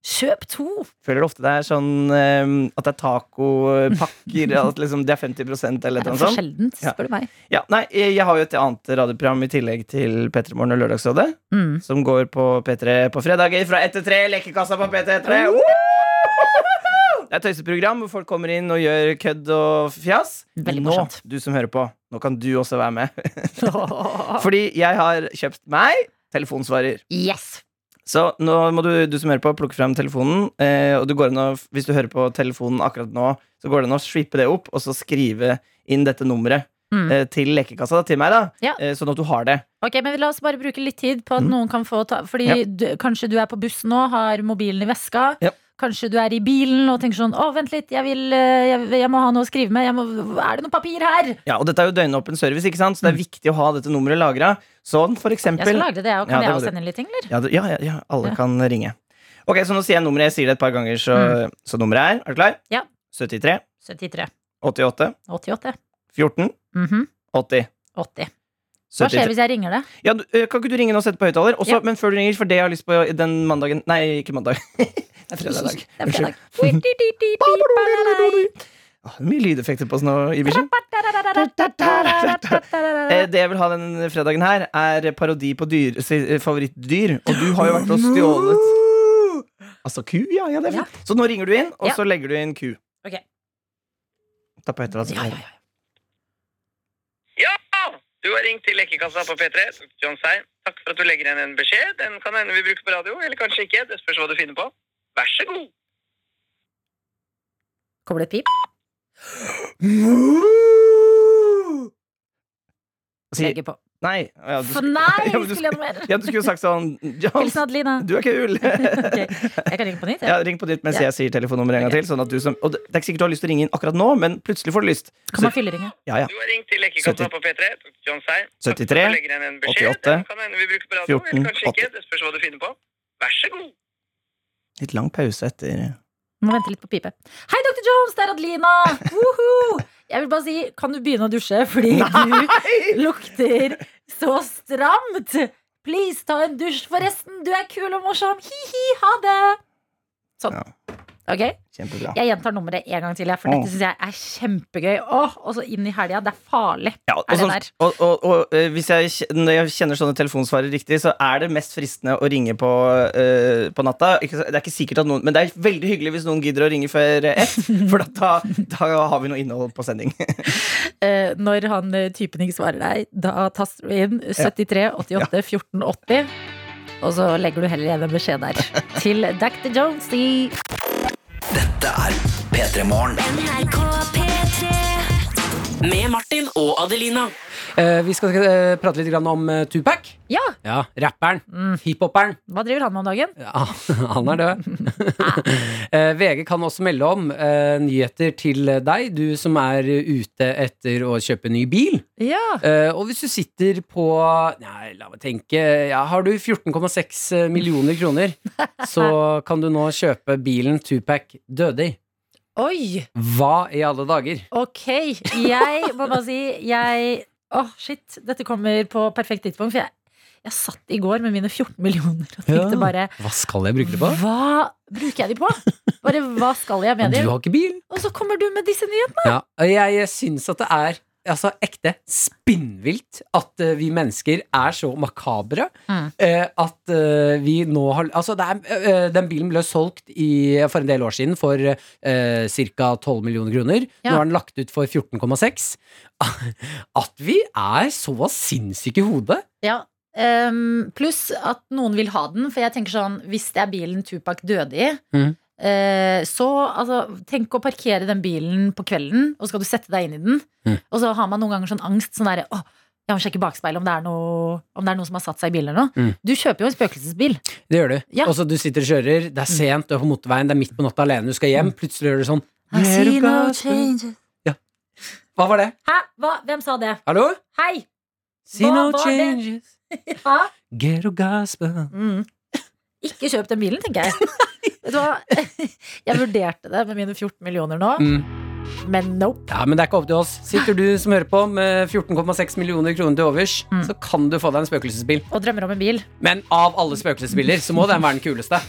S10: Kjøp to.
S20: Føler du ofte det er sånn eh, at det er tacopakker?
S4: <laughs>
S20: at liksom det er 50 eller
S4: Det
S20: noe
S4: er for
S20: sånt?
S4: sjeldent, spør du meg.
S20: Ja, nei, jeg jeg har jo et annet radioprogram i tillegg til P3 Morgen og Lørdagsrådet.
S4: Mm.
S20: Som går på P3 på fredager fra 1 til 3. Lekekassa på P3. Woo! Det er et tøyseprogram hvor folk kommer inn og gjør kødd og fjas.
S4: Veldig
S20: nå,
S4: morsomt.
S20: du som hører på, nå kan du også
S4: <laughs>
S20: være med. Fordi jeg har kjøpt meg telefonsvarer.
S4: Yes!
S20: Så nå må du, du som hører på, plukke frem telefonen. Eh, og du går inn og, hvis du hører på telefonen akkurat nå, så går det an å swippe det opp og så skrive inn dette nummeret
S4: Mm.
S20: eh, til lekekassa da, til meg, da.
S4: Ja.
S20: Eh, sånn at du har det.
S4: Ok, men La oss bare bruke litt tid på at
S20: Mm.
S4: noen kan få ta Fordi
S20: Ja.
S4: du, kanskje du er på bussen nå, har mobilen i veska.
S20: Ja.
S4: Kanskje du er i bilen og tenker sånn Å, vent litt, jeg, vil, eh, jeg, jeg må ha noe å skrive med. Jeg må, er det noe papir her?
S20: Ja, og dette er jo døgnåpen service, ikke sant? så det er viktig å ha dette nummeret lagra. Sånn, for eksempel.
S4: Mm. Jeg skal lagre det, jeg òg. Kan
S20: Ja,
S4: jeg
S20: må
S4: også
S20: du.
S4: sende inn litt ting, eller?
S20: Ja, du- ja, ja, ja alle
S4: Ja.
S20: kan ringe. Ok, så nå sier jeg nummeret. Jeg sier det et par ganger, så,
S4: Mm.
S20: så nummeret er Er du klar?
S4: Ja.
S20: 73
S4: 73.
S20: 88
S4: 88.
S20: 14
S4: Mhm.
S20: 80.
S4: 80. Hva skjer hvis jeg ringer det?
S20: Ja, du, eh, kan ikke du ringe nå og sette på høyttaler? Også-
S4: Ja.
S20: Men før du ringer, for det jeg har lyst på i den mandagen Nei, ikke mandag. <laughs> det er fredag i dag.
S4: Det er
S20: Unnskyld.
S4: fredag. Ba-ba-do-do-do-do-do.
S20: Åh, det er Mye lydeffekter på oss nå, Iversen. Eh, Det jeg vil ha den fredagen her, er parodi på dyr, si- eh, favorittdyr. Og du har jo vært og stjålet Altså ku, ja. ja, det er fint. Så nå ringer du inn, og
S4: Ja.
S20: så legger du inn ku.
S4: Ok.
S20: Ta på høyttaler. altså. Ja, ja, ja.
S19: Ja! Du har ringt til Lekekassa på P3. John Sein, takk for at du legger igjen en beskjed. Den kan hende vi bruker på radio, eller kanskje ikke. Det spørs hva du finner på. Vær så god.
S4: Kommer
S20: <gasps>
S4: det et pip?
S20: Legger
S4: på.
S20: Nei. ja,
S4: For
S20: <laughs>
S4: nei,
S20: Ja, men du
S4: skulle jeg noe mer?
S20: Ja, du skulle sagt sånn John,
S4: <laughs> Hilsen Adelina.
S20: du er
S4: <laughs>
S20: kul.
S4: Ok, Jeg kan ringe på nytt, jeg.
S20: Ja, ring på ditt mens
S4: Ja.
S20: jeg sier telefonnummeret en gang til. Sånn at du som, og det det er ikke sikkert du har lyst til å ringe inn akkurat nå, men plutselig får du lyst.
S4: Kan
S20: <laughs>
S4: man
S20: Så-
S4: fylleringe?
S20: Ja, ja.
S19: Du har ringt til Lekekassa på P3. John Sein, takk for at du
S20: 73,
S19: legger igjen en beskjed.
S20: 88,
S19: Den kan hende vi bruker på radio,
S20: 14,
S19: eller kanskje ikke. Det spørs hva du finner på. Vær så god.
S20: Litt lang pause etter
S4: Må vente litt på pipe. Hei, Dr. Jones, det er Adelina! Woho! Jeg vil bare si, kan du begynne å dusje? Fordi du lukter så stramt! Please, ta en dusj, forresten. Du er kul og morsom. Hi-hi, ha det! Sånn. Ok?
S20: Kjempebra.
S4: Jeg gjentar nummeret en gang til, jeg, for
S20: Åh.
S4: dette syns jeg er kjempegøy. Åh, og så inn i helga. Det er farlig.
S20: Ja, og,
S4: er det
S20: sånn-
S4: der.
S20: og, og, og eh, hvis jeg, kj- når jeg kjenner sånne telefonsvarer riktig, så er det mest fristende å ringe på, eh, på natta. Ikke, så- det er ikke sikkert at noen Men det er veldig hyggelig hvis noen gidder å ringe før eh, ett, for da, da har vi noe innhold på sending. <laughs>
S4: Eh, når han eh, typen ikke svarer deg, da taster du inn 73 88 14 80. Og så legger du heller igjen en beskjed
S3: <laughs>
S4: der. Til Dr. Jonesy.
S2: Dette er P3 Morgen.
S5: Med Martin og Adelina.
S3: Eh, vi skal eh, prate litt grann om eh, Tupac.
S4: Ja, Mm.
S3: Ja, rapperen. Hiphoperen.
S4: hva driver han med om dagen?
S3: Ja, <laughs> han er død.
S4: <laughs>
S3: Eh, VG kan også melde om eh, nyheter til deg, du som er ute etter å kjøpe ny bil. Eh, og hvis du sitter på Nei, la meg tenke ja, Har du 14,6 eh, millioner
S4: <laughs>
S3: kroner, så kan du nå kjøpe bilen Tupac døde i.
S4: Oi!
S3: Hva i alle dager?
S4: Ok, jeg må bare si jeg, Åh, shit, dette kommer på perfekt tidspunkt. For jeg, jeg satt i går med mine 14 millioner og tenkte bare
S3: Hva skal jeg bruke det på?
S4: Hva bruker jeg de på? Bare hva skal jeg med
S3: Du
S4: dem?
S3: har ikke bil.
S4: Og så kommer du med disse nyhetene!
S3: Ja, og jeg, jeg syns at det er altså, ekte spinnvilt at eh, vi mennesker er så makabre
S4: Mm.
S3: eh, at eh, vi nå har Altså, det er, eh, den bilen ble solgt i, for en del år siden for uh, ca. 12 millioner kroner.
S4: Ja.
S3: Nå er den lagt ut for 14,6. <laughs> At vi er så sinnssyke i hodet!
S4: Ja, ehm, pluss at noen vil ha den, for jeg tenker sånn, hvis det er bilen Tupac døde i,
S3: Hmm.
S4: eh, så altså, tenk å parkere den bilen på kvelden, og skal du sette deg inn i den,
S3: Mhm.
S4: og så har man noen ganger sånn angst, sånn derre åh, jeg må sjekke bakspeilet om det er noe, om det er noen som har satt seg i bilen eller noe.
S3: Mhm.
S4: Du kjøper jo en spøkelsesbil.
S3: Det gjør du.
S4: Ja. Mm.
S3: Og så du sitter og kjører, det er sent, du er på motorveien, det er midt på natta alene, du skal hjem, plutselig gjør du sånn
S4: I see no changes.
S3: Hva var det?
S4: Hæ? Hva? Hvem sa det?
S3: Hallo?
S4: Hei!
S3: See
S4: Hva
S3: no
S4: var det?
S3: changes.
S4: <laughs> Ja.
S3: Ghetto gospel.
S4: Mm. <laughs> Ikke kjøp <laughs> den bilen, tenker jeg. Vet du hva? Jeg vurderte det med mine 14 millioner nå.
S3: Mm.
S4: Men nope.
S3: Ja, men det er ikke opp til oss. Sitter du som hører på med 14,6 millioner kroner til overs, så kan du få deg en spøkelsesbil.
S4: Og drømmer om en bil.
S3: Men av alle spøkelsesbiler så må den være den kuleste.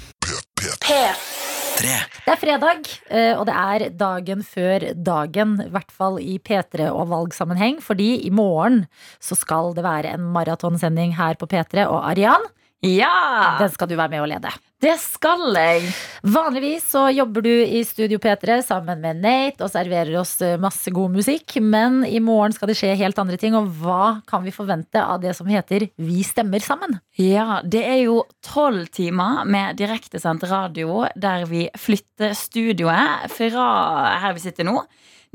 S4: Det er fredag, eh, og det er dagen før dagen, i hvert fall i P3 og valgsammenheng, fordi i morgen så skal det være en maratonsending her på P3, og Arian, den skal du være med å lede.
S10: Ah. Det skal jeg.
S4: Vanligvis så jobber du i Studio P3 sammen med Nate og serverer oss eh, masse god musikk, men i morgen skal det skje helt andre ting, og hva kan vi forvente av det som heter Vi stemmer sammen?
S10: Ja, det er jo tolv timer med direktesendt radio der vi flytter studioet fra her vi sitter nå,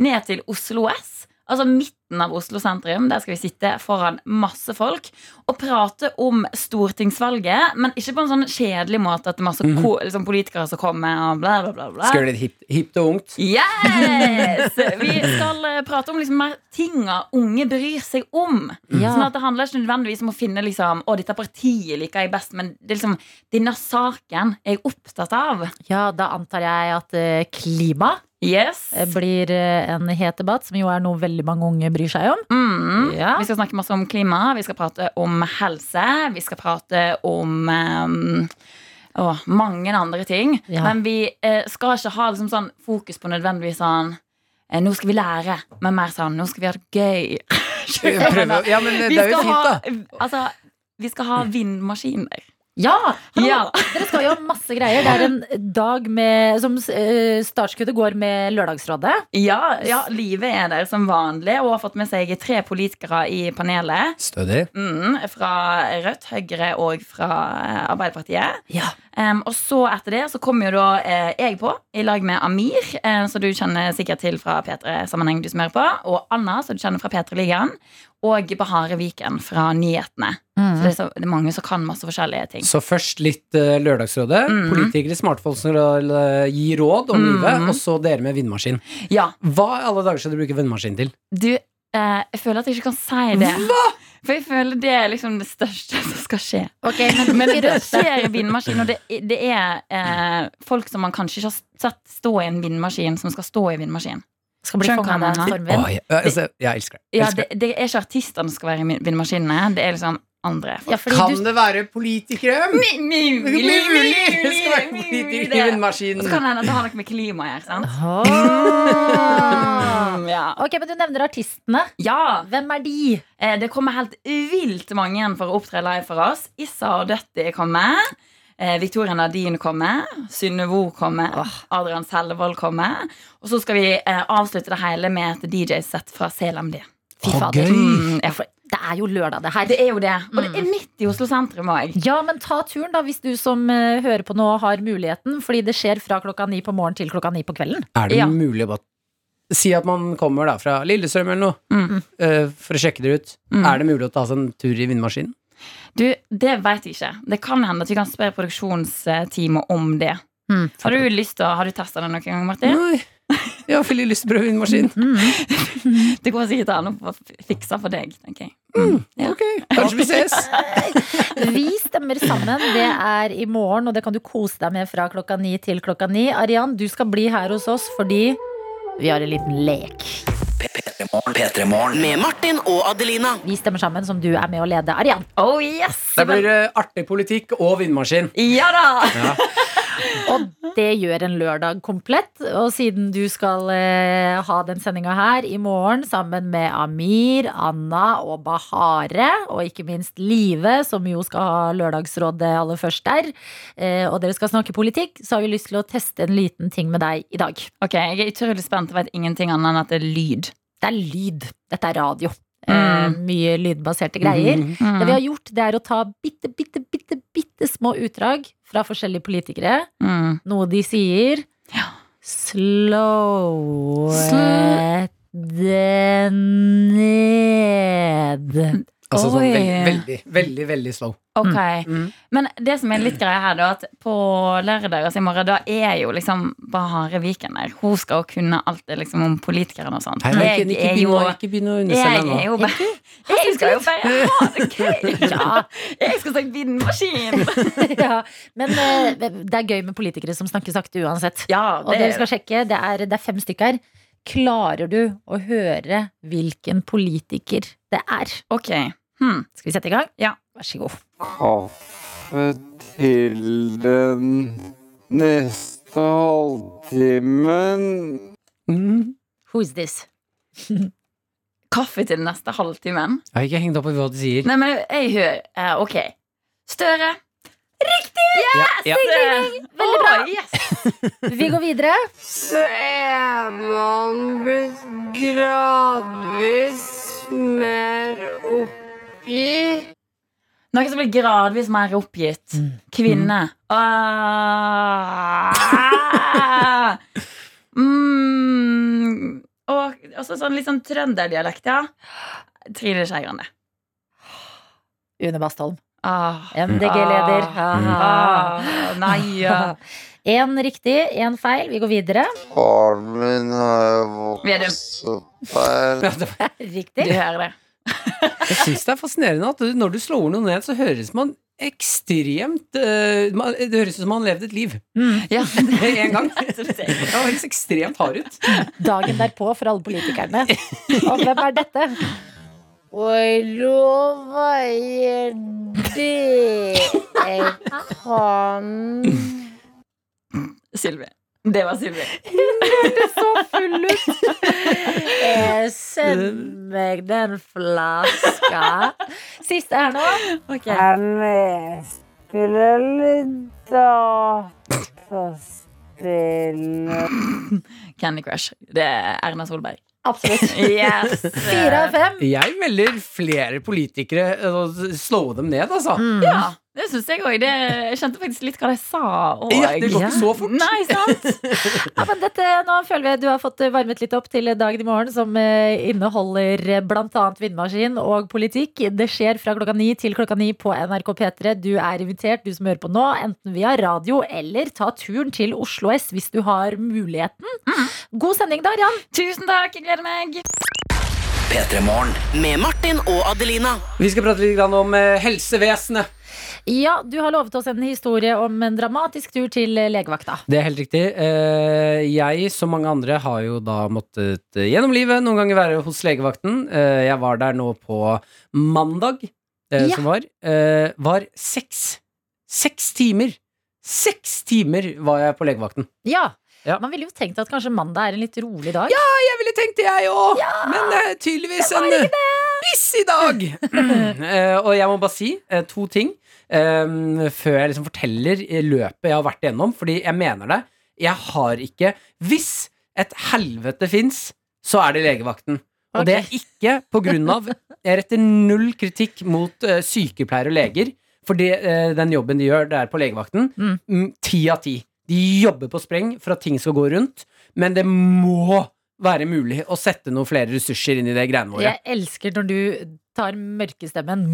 S10: ned til Oslo S. Altså midten av Oslo sentrum. Der skal vi sitte foran masse folk og prate om stortingsvalget. Men ikke på en sånn kjedelig måte at det er masse ko liksom, politikere som kommer og bla, bla, bla. bla.
S3: Mhm. Skal gjøre det hipt, hipt og ungt.
S10: Yes! Vi skal eh, prate om liksom mer tinga unge bryr seg om.
S3: Ja.
S10: Sånn at Det handler ikke nødvendigvis om å finne liksom, Å, dette partiet liker jeg best, men det er liksom, denne saken er jeg opptatt av.
S4: Ja, da antar jeg at eh, klima
S10: Yes.
S4: eh, blir eh, en het debatt, som jo er noe veldig mange unge bryr seg om. Eh,
S10: Mm.
S4: Ja.
S10: Vi skal snakke masse om klima, vi skal prate om helse, vi skal prate om ehm, å, mange andre ting.
S4: Ja.
S10: Men vi eh, skal ikke ha liksom, sånn fokus på nødvendigvis sånn eh, Nå skal vi lære, men mer sånn Nå skal vi ha det gøy. <laughs> Skjønner du hva jeg mener?
S3: Prøve- ja, men eh, det
S10: Vi
S3: er jo
S10: skal
S3: fint,
S10: ha- Altså, vi skal ha vindmaskiner.
S4: Ja! hallo!
S10: Ja.
S4: <laughs> Dere skal jo ha masse greier. Det er en dag med, som eh, startskuddet går med Lørdagsrådet.
S10: Ja, ja, livet er der som vanlig, og har fått med seg tre politikere i panelet.
S3: Stødig.
S10: Mm, fra Rødt, Høyre og fra eh, Arbeiderpartiet. Em, og så etter det så kommer jo da eh, jeg på, i lag med Amir, eh, som du kjenner sikkert til fra P3-sammenheng, du som hører på, og Anna, som du kjenner fra P3-ligaen, og Bahare Viken fra Nyhetene.
S3: Mhm.
S10: Så, det er så det er mange som kan masse forskjellige ting.
S3: Så først litt eh, Lørdagsrådet. Politikere, smartfolk som eh, gir råd om livet. Og så dere med vindmaskin. Hva i alle dager skal du bruke vindmaskin til?
S10: Du, eh, jeg føler at jeg ikke kan si det. For jeg føler det er liksom det største som skal skje.
S4: Ok, <laughs> men
S10: Men
S4: ikke
S10: det
S4: røp det.
S10: skjer i vindmaskin, og det, det er eh, folk som man kanskje ikke har sett stå i en vindmaskin, som skal stå i vindmaskin.
S4: Skal bli
S10: Skjønner
S4: fanget
S10: hva jeg
S4: av en
S10: mener?
S4: stormvind.
S3: Å, jeg, altså, jeg elsker det. Jeg
S10: Ja,
S3: elsker
S10: det, det er ikke artistene som skal være i min- vindmaskinene, det er liksom andre folk.
S3: kan det være politikere?
S10: Mi- mi- mi- mi- mi- mi-
S3: Det skal være politikere i
S10: Og
S3: vindmaskinen.
S10: så kan det hende at det har noe med klima å gjøre, sant? Mm, ja.
S4: Ok, men Du nevner artistene.
S10: Ja.
S4: Hvem er de?
S10: Eh, det kommer helt vilt mange igjen for å opptre live for oss. Issa og Døtti kommer. Eh, Victoria Nadine kommer. Synnøvo kommer. Adrian Selvold kommer. Og så skal vi eh, avslutte det hele med et DJ-sett fra CLMD.
S4: Fy fader.
S10: Mm, ja, for
S4: Det er jo lørdag, det her.
S10: det er jo det. Og det er midt i Oslo sentrum òg.
S4: mm. Ja, men ta turen, da, hvis du som eh, hører på nå, har muligheten. Fordi det skjer fra klokka ni på morgenen til klokka ni på kvelden.
S3: Er det mulig å bare Si at man kommer da fra Lillestrøm eller noe,
S10: Mm.
S4: Mm.
S3: eh, for å sjekke det ut. Er det mulig å ta seg en tur i vindmaskinen?
S10: Du, det veit jeg ikke. Det kan hende at vi kan spørre produksjonsteamet om det. Har du lyst til å, Har du testa det noen gang, Martin?
S3: Nei. Jeg har veldig lyst til å prøve vindmaskin.
S10: Mm. <laughs> Det går sikkert an å få fiksa for deg, tenker jeg.
S3: Mm.
S10: Mm.
S4: <laughs>
S3: Kanskje vi ses!
S4: Vi stemmer sammen. Det er i morgen, og det kan du kose deg med fra klokka ni til klokka ni. Arian, du skal bli her hos oss fordi vi har en liten lek.
S2: P3 Morgen.
S5: Med Martin og Adelina.
S4: Vi stemmer sammen, som du er med å lede, Arian.
S10: Oh yes!
S3: Det blir eh, artig politikk og vindmaskin.
S10: Ja da!
S4: Og det gjør en lørdag komplett. Og siden du skal eh, ha den sendinga her i morgen sammen med Amir, Anna og Bahare, og ikke minst Live, som jo skal ha Lørdagsrådet aller først der, eh, og dere skal snakke politikk, så har vi lyst til å teste en liten ting med deg i dag.
S10: Ok, Jeg er utrolig spent og vet ingenting annet enn at det er lyd. Mm.
S4: Det er lyd. Dette er radio. Eh, mye lydbaserte greier.
S10: Mhm. Mhm.
S4: Det vi har gjort, det er å ta bitte, bitte, bitte, bitte små utdrag fra forskjellige politikere.
S10: Mm.
S4: Noe de sier. Slow it den ned.
S10: <laughs>
S3: Altså sånn
S10: Oi.
S3: veldig, veldig, veldig, veldig slow.
S10: Ok,
S3: Mm.
S10: Men det som er litt greia her, da, at på lørdag altså i morgen, da er jo liksom Bahare Viken der. Hun skal jo kunne alt det liksom om politikerne og sånt.
S3: Nei, men ikke, ikke,
S10: Jeg er
S3: begynn å,
S10: jo-
S3: ikke begynn å
S10: jeg
S3: underselge
S10: er jo
S3: nå.
S10: bare Jeg skal jo bare ha det gøy! Jeg skal snakke vindmaskin!
S3: <laughs>
S4: ja, men eh, det er gøy med politikere som snakker sakte uansett.
S10: Ja,
S4: og
S10: det
S4: dere
S10: er
S4: skal sjekke, det er, det er fem stykker. klarer du å høre hvilken politiker det er.
S10: Ok. hmm.
S4: Skal vi sette i gang?
S10: Ja.
S4: Vær så god.
S21: kaffe til den neste halvtimen.
S10: Who's this? Kaffe til den neste halvtimen?
S3: Jeg har ikke hengt opp i hva de sier.
S10: Nei, men jeg hører eh, Ok. Støre. Riktig!
S3: Ja, ja.
S4: Veldig bra. Vi går videre.
S22: er man blitt gradvis mer oppgitt.
S10: Noen som blir gradvis mer oppgitt. Kvinne. Ah. <laughs> Mm. Og også sånn litt sånn trønderdialekt, ja. Trine Skei Grande.
S4: Une Bastholm.
S10: Ah.
S4: MDG-leder.
S10: Ah.
S4: Ah.
S10: Nei, ja.
S4: <laughs> Én riktig, én feil. Vi går videre.
S21: Faren min har vokst
S10: Vedum.
S21: opp her.
S4: <laughs> Riktig.
S10: Du hører det.
S3: Jeg syns det er fascinerende at du, når du slår noe ned, så høres man ekstremt eh, man- Det høres ut som man har levd et liv.
S10: Mm.
S3: <laughs>
S10: Ja.
S3: Én
S10: <laughs>
S3: gang. Det høres ekstremt hard ut.
S10: Mm.
S4: Dagen derpå for alle politikerne. Og hvem er dette?
S22: Og lova er det jeg kan
S10: Sylvi. Det var Sylvi.
S4: Eh, Send meg den flaska. Siste her nå.
S22: Jeg spiller litt dataspill.
S10: <laughs> Candy Crush. Det er Erna Solberg.
S4: Absolutt.
S10: <laughs> Yes.
S4: Fire av fem.
S3: Jeg velger flere politikere eh, og s- slå dem ned, altså.
S10: Ja, det syns jeg òg. Jeg skjønte faktisk litt hva de sa. Og...
S3: Ja, det går ikke så fort.
S10: Nei, sant?
S4: Ja, men dette, nå føler vi at du har fått varmet litt opp til dagen i morgen, som eh, inneholder bl.a. vindmaskin og politikk. Det skjer fra klokka ni til klokka ni på NRK P3. Du er invitert, du som hører på nå, enten via radio eller ta turen til Oslo S hvis du har muligheten. God sending, Darian.
S10: Tusen takk. Jeg gleder meg.
S5: Med Martin og Adelina.
S3: Vi skal prate litt grann om eh, helsevesenet.
S4: Ja, du har lovet oss en historie om en dramatisk tur til eh, legevakta.
S3: Det er helt riktig. Eh, Jeg, som mange andre, har jo da måttet eh, gjennom livet noen ganger være hos legevakten. Eh, Jeg var der nå på mandag, eh,
S4: Ja.
S3: som var. eh, Var seks. Seks timer! Seks timer var jeg på legevakten.
S4: Ja.
S3: Ja.
S4: Man ville jo tenkt at kanskje mandag er en litt rolig dag.
S3: Ja, jeg ville tenkt det, jeg òg! Men eh, det er tydeligvis en i dag! Eh, og jeg må bare si eh, to ting eh, før jeg liksom forteller eh, løpet jeg har vært igjennom, fordi jeg mener det. Jeg har ikke Hvis et helvete fins, så er det legevakten. Og det er ikke på grunn av Jeg retter null kritikk mot eh, sykepleiere og leger, for det, eh, den jobben de gjør, det er på legevakten.
S4: Mm.
S3: Mm, Ti av ti. De jobber på spreng for at ting skal gå rundt, men det må være mulig å sette noen flere ressurser inn i det greiene våre.
S4: Jeg elsker når du tar mørkestemmen.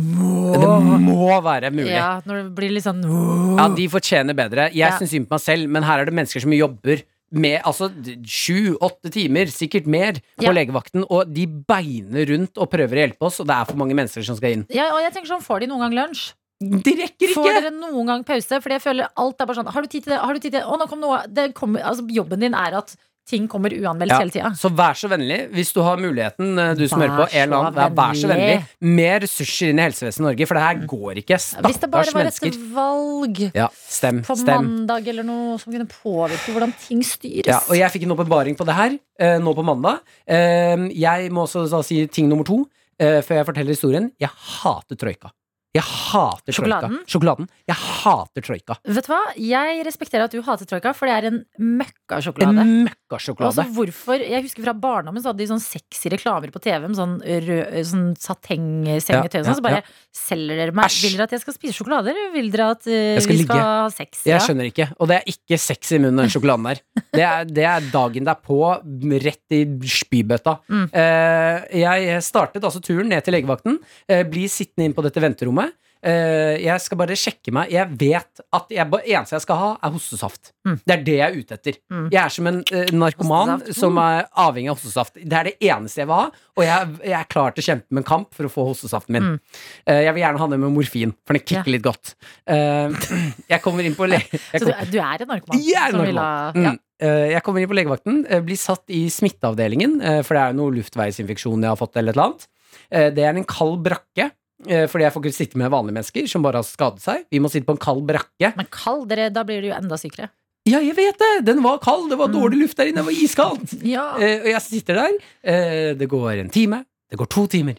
S3: Det må være mulig. Ja,
S4: Ja, når det blir litt sånn
S3: De fortjener bedre. Jeg
S4: Ja.
S3: syns synd på meg selv, men her er det mennesker som jobber med altså sju-åtte timer, sikkert mer, på
S4: Ja.
S3: legevakten, og de beiner rundt og prøver å hjelpe oss, og det er for mange mennesker som skal inn.
S4: Ja, og jeg tenker sånn, får de noen gang lunsj?
S3: De rekker
S4: ikke! Får dere noen gang pause? Fordi jeg føler alt er bare sånn Har du tid til det? Har du tid til det? Å, nå kom noe det kommer, altså, Jobben din er at ting kommer uanmeldt
S3: Ja,
S4: hele tida.
S3: Så vær så vennlig, hvis du har muligheten, eh, du som
S4: Vær
S3: hører på, en eller
S4: så
S3: annen, ja, vær så vennlig.
S4: vennlig.
S3: Mer ressurser inn i helsevesenet i Norge, for det her går ikke.
S4: Hvis det bare
S3: Stakkars
S4: var et
S3: Ah, mennesker.
S4: valg
S3: Ja, stem.
S4: på
S3: stem.
S4: mandag eller noe som kunne påvirke hvordan ting styres
S3: Ja, og jeg fikk en åpenbaring på det her eh, nå på mandag. Eh, jeg må også da si ting nummer to eh, før jeg forteller historien. Jeg hater troika. Jeg hater
S4: Sjokoladen?
S3: troika. Sjokoladen? Jeg hater troika.
S4: Vet du hva? Jeg respekterer at du hater troika, for det er en
S3: En
S4: møkkasjokolade.
S3: møkkasjokolade.
S4: Også hvorfor, jeg husker Fra barndommen så hadde de sånn sexy reklamer på TV med sånn, rød, sånn satengsengetøy.
S3: Ja,
S4: og
S3: ja,
S4: sånn, så bare
S3: ja.
S4: selger dere meg. Vil dere at jeg skal spise sjokolade, eller vil dere at eh,
S3: Jeg skal
S4: vi
S3: ligge.
S4: skal ha sex?
S3: Jeg skjønner ikke. Og det er ikke sex i munnen, den sjokoladen der. Det er, det er dagen derpå, rett i spybøtta.
S4: Mm.
S3: Eh, jeg startet altså turen ned til legevakten. eh, blir sittende inn på dette venterommet. Eh, jeg skal bare sjekke meg. Jeg vet at jeg, ba- eneste jeg skal ha, er hostesaft.
S4: Mm.
S3: Det er det jeg er ute etter. Jeg er som en eh, narkoman
S23: Hostesaft.
S3: som er avhengig av hostesaft. Det er det eneste jeg vil ha, og jeg, jeg er klar til å kjempe med en kamp for å få hostesaften min.
S23: Mm.
S3: Eh, jeg vil gjerne ha den med morfin, for den kicker
S4: Ja.
S3: litt godt. Eh, jeg kommer inn på le... jeg
S4: <laughs> Så du,
S3: kom-
S4: du er en narkoman?
S3: jeg er
S4: som vil
S3: narkoman.
S4: ha-
S3: Mm. eh, jeg kommer inn på legevakten, eh, blir satt i smitteavdelingen, eh, for det er jo noe luftveisinfeksjon jeg har fått, eller et eller annet. Eh, Det er en kald brakke, eh, fordi jeg får ikke sitte med vanlige mennesker som bare har skadet seg. Vi må sitte på en kald brakke.
S4: Men kald, dere, da blir du jo enda sykere.
S3: Ja, jeg vet det! Den var kald, det var dårlig luft der inne, det var iskaldt! Eh, og jeg sitter der, eh, det går en time, det går to timer.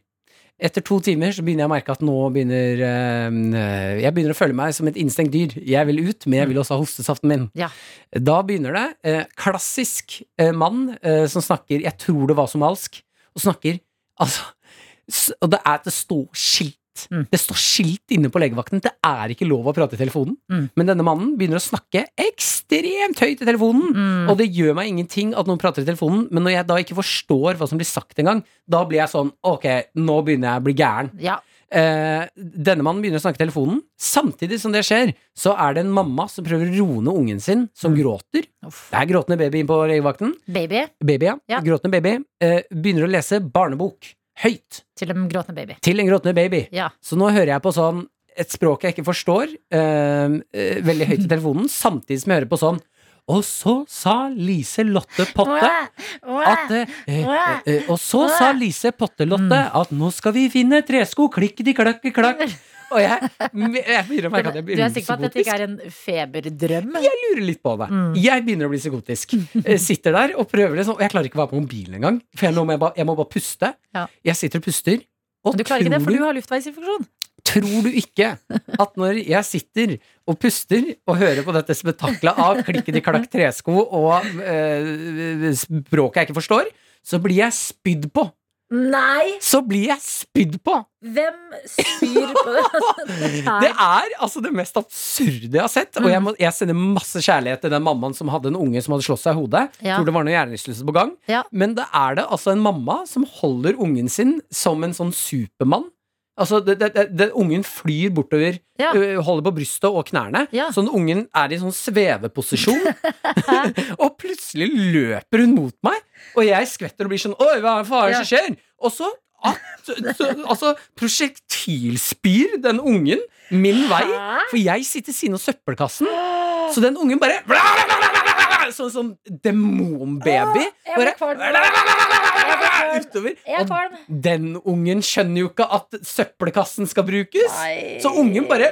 S3: Etter to timer så begynner jeg å merke at nå begynner eh, Jeg begynner å føle meg som et innstengt dyr. Jeg vil ut, men jeg vil også ha hostesaften min. Da begynner det. Eh, klassisk eh, mann eh, som snakker Jeg tror det var somalisk, og snakker Altså s- Og det er at det står skilt. Det står skilt inne på legevakten. Det er ikke lov å prate i telefonen. Men denne mannen begynner å snakke ekstremt høyt i telefonen. Og det gjør meg ingenting at noen prater i telefonen, men når jeg da ikke forstår hva som blir sagt engang, da blir jeg sånn Ok, nå begynner jeg å bli gæren. Eh, denne mannen begynner å snakke i telefonen. Samtidig som det skjer, så er det en mamma som prøver å roe ned ungen sin, som gråter. Det er gråtende baby inne på legevakten.
S4: Baby.
S3: Baby, ja. Gråtende baby. Eh, begynner å lese barnebok. Høyt.
S4: Til en gråtende baby.
S3: Til en gråtende baby.
S4: Ja.
S3: Så nå hører jeg på sånn et språk jeg ikke forstår, eh, eh, veldig høyt i telefonen, samtidig som jeg hører på sånn Og så sa Lise Lotte Potte at eh, eh, eh, Og så sa Lise Potte Lotte at nå skal vi finne tresko, klikketi klakk
S4: <laughs>
S3: klakk. Og jeg, jeg begynner å merke at jeg
S4: Du
S3: blir
S4: er sikker på at dette ikke er en Mm. feberdrøm?
S3: jeg lurer litt på det. Jeg begynner å bli psykotisk. Eh, Sitter der og prøver liksom, og jeg klarer ikke å være på mobilen engang. For jeg, nå må jeg, bare, jeg må bare puste.
S4: Ja.
S3: Jeg sitter og puster. Og
S4: Du klarer ikke det, for
S3: tror
S4: du har luftveisinfeksjon.
S3: Tror du ikke at når jeg sitter og puster og hører på dette spetakkelet av klikkedi-klakk tresko og eh, språket jeg ikke forstår, så blir jeg spydd på.
S4: Nei!
S3: Så blir jeg spydd på!
S4: Hvem spyr
S3: <laughs>
S4: på det?
S3: Det er altså det mest absurde jeg har sett. Og jeg,
S4: Mm.
S3: må, jeg sender masse kjærlighet til den mammaen som hadde en unge som hadde slått seg i hodet.
S4: Ja.
S3: Tror det var noe hjernerystelse på gang.
S4: Ja.
S3: Men det er det altså en mamma som holder ungen sin som en sånn supermann. Altså, det, det, det, det, Ungen flyr bortover,
S4: Ja.
S3: ø, holder på brystet og knærne. Sånn ungen er i sånn sveveposisjon.
S4: <laughs>
S3: og plutselig løper hun mot meg, og jeg skvetter og blir sånn Oi, hva faen er det som skjer? Og så at, så, altså, prosjektilspyr den ungen min vei, for jeg sitter siden av søppelkassen. Så den ungen bare Sånn som demonbaby. Bare utover.
S4: Jeg er kvalm.
S3: Den ungen skjønner jo ikke at søppelkassen skal brukes. Så ungen bare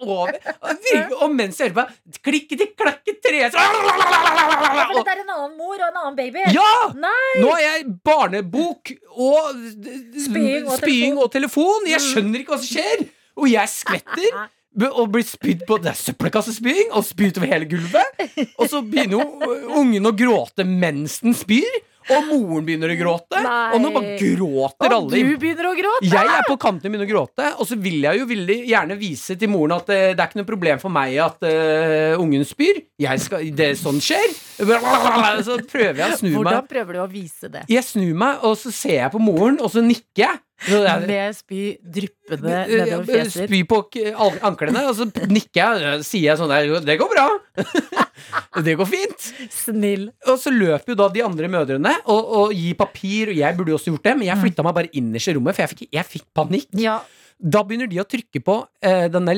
S3: over. Og virkelig- Og mens jeg hører på klikketi klakket tre
S4: Ja, for
S3: så-
S4: dette er en annen mor og en annen baby.
S3: Ja!
S4: Nei!
S3: Nå er jeg barnebok og
S4: Spying og Mm.
S3: spying og telefon. Jeg skjønner ikke hva som skjer. Og jeg skvetter. b- Og blir spydd på Det er søppelkassespying og spy utover hele gulvet. Og så begynner jo ungen å gråte mens den spyr. Og moren begynner å gråte. Og nå bare gråter
S4: Og
S3: alle.
S4: du begynner å gråte.
S3: Jeg er på kanten min og gråte, og så vil jeg jo veldig gjerne vise til moren at eh, det er ikke noe problem for meg at eh, ungen spyr. Jeg skal, det sånn skjer. Så prøver jeg å snu
S4: Hvordan
S3: meg.
S4: prøver du å vise det?
S3: Jeg snur meg, og så ser jeg på moren, og så nikker jeg. Så jeg-
S4: Med spy dryppende
S3: Eh,
S4: nedover
S3: eh,
S4: fjeset ditt.
S3: Spy på k- al- anklene, og så nikker jeg og sier jeg sånn der Det går bra. <laughs> Det går fint.
S4: Snill.
S3: Og så løper jo da de andre mødrene og, og gir papir, og jeg burde jo også gjort det, men
S4: Mm.
S3: jeg flytta meg bare innerst i rommet, for jeg fikk, jeg fikk panikk. Da begynner de å trykke på eh, denne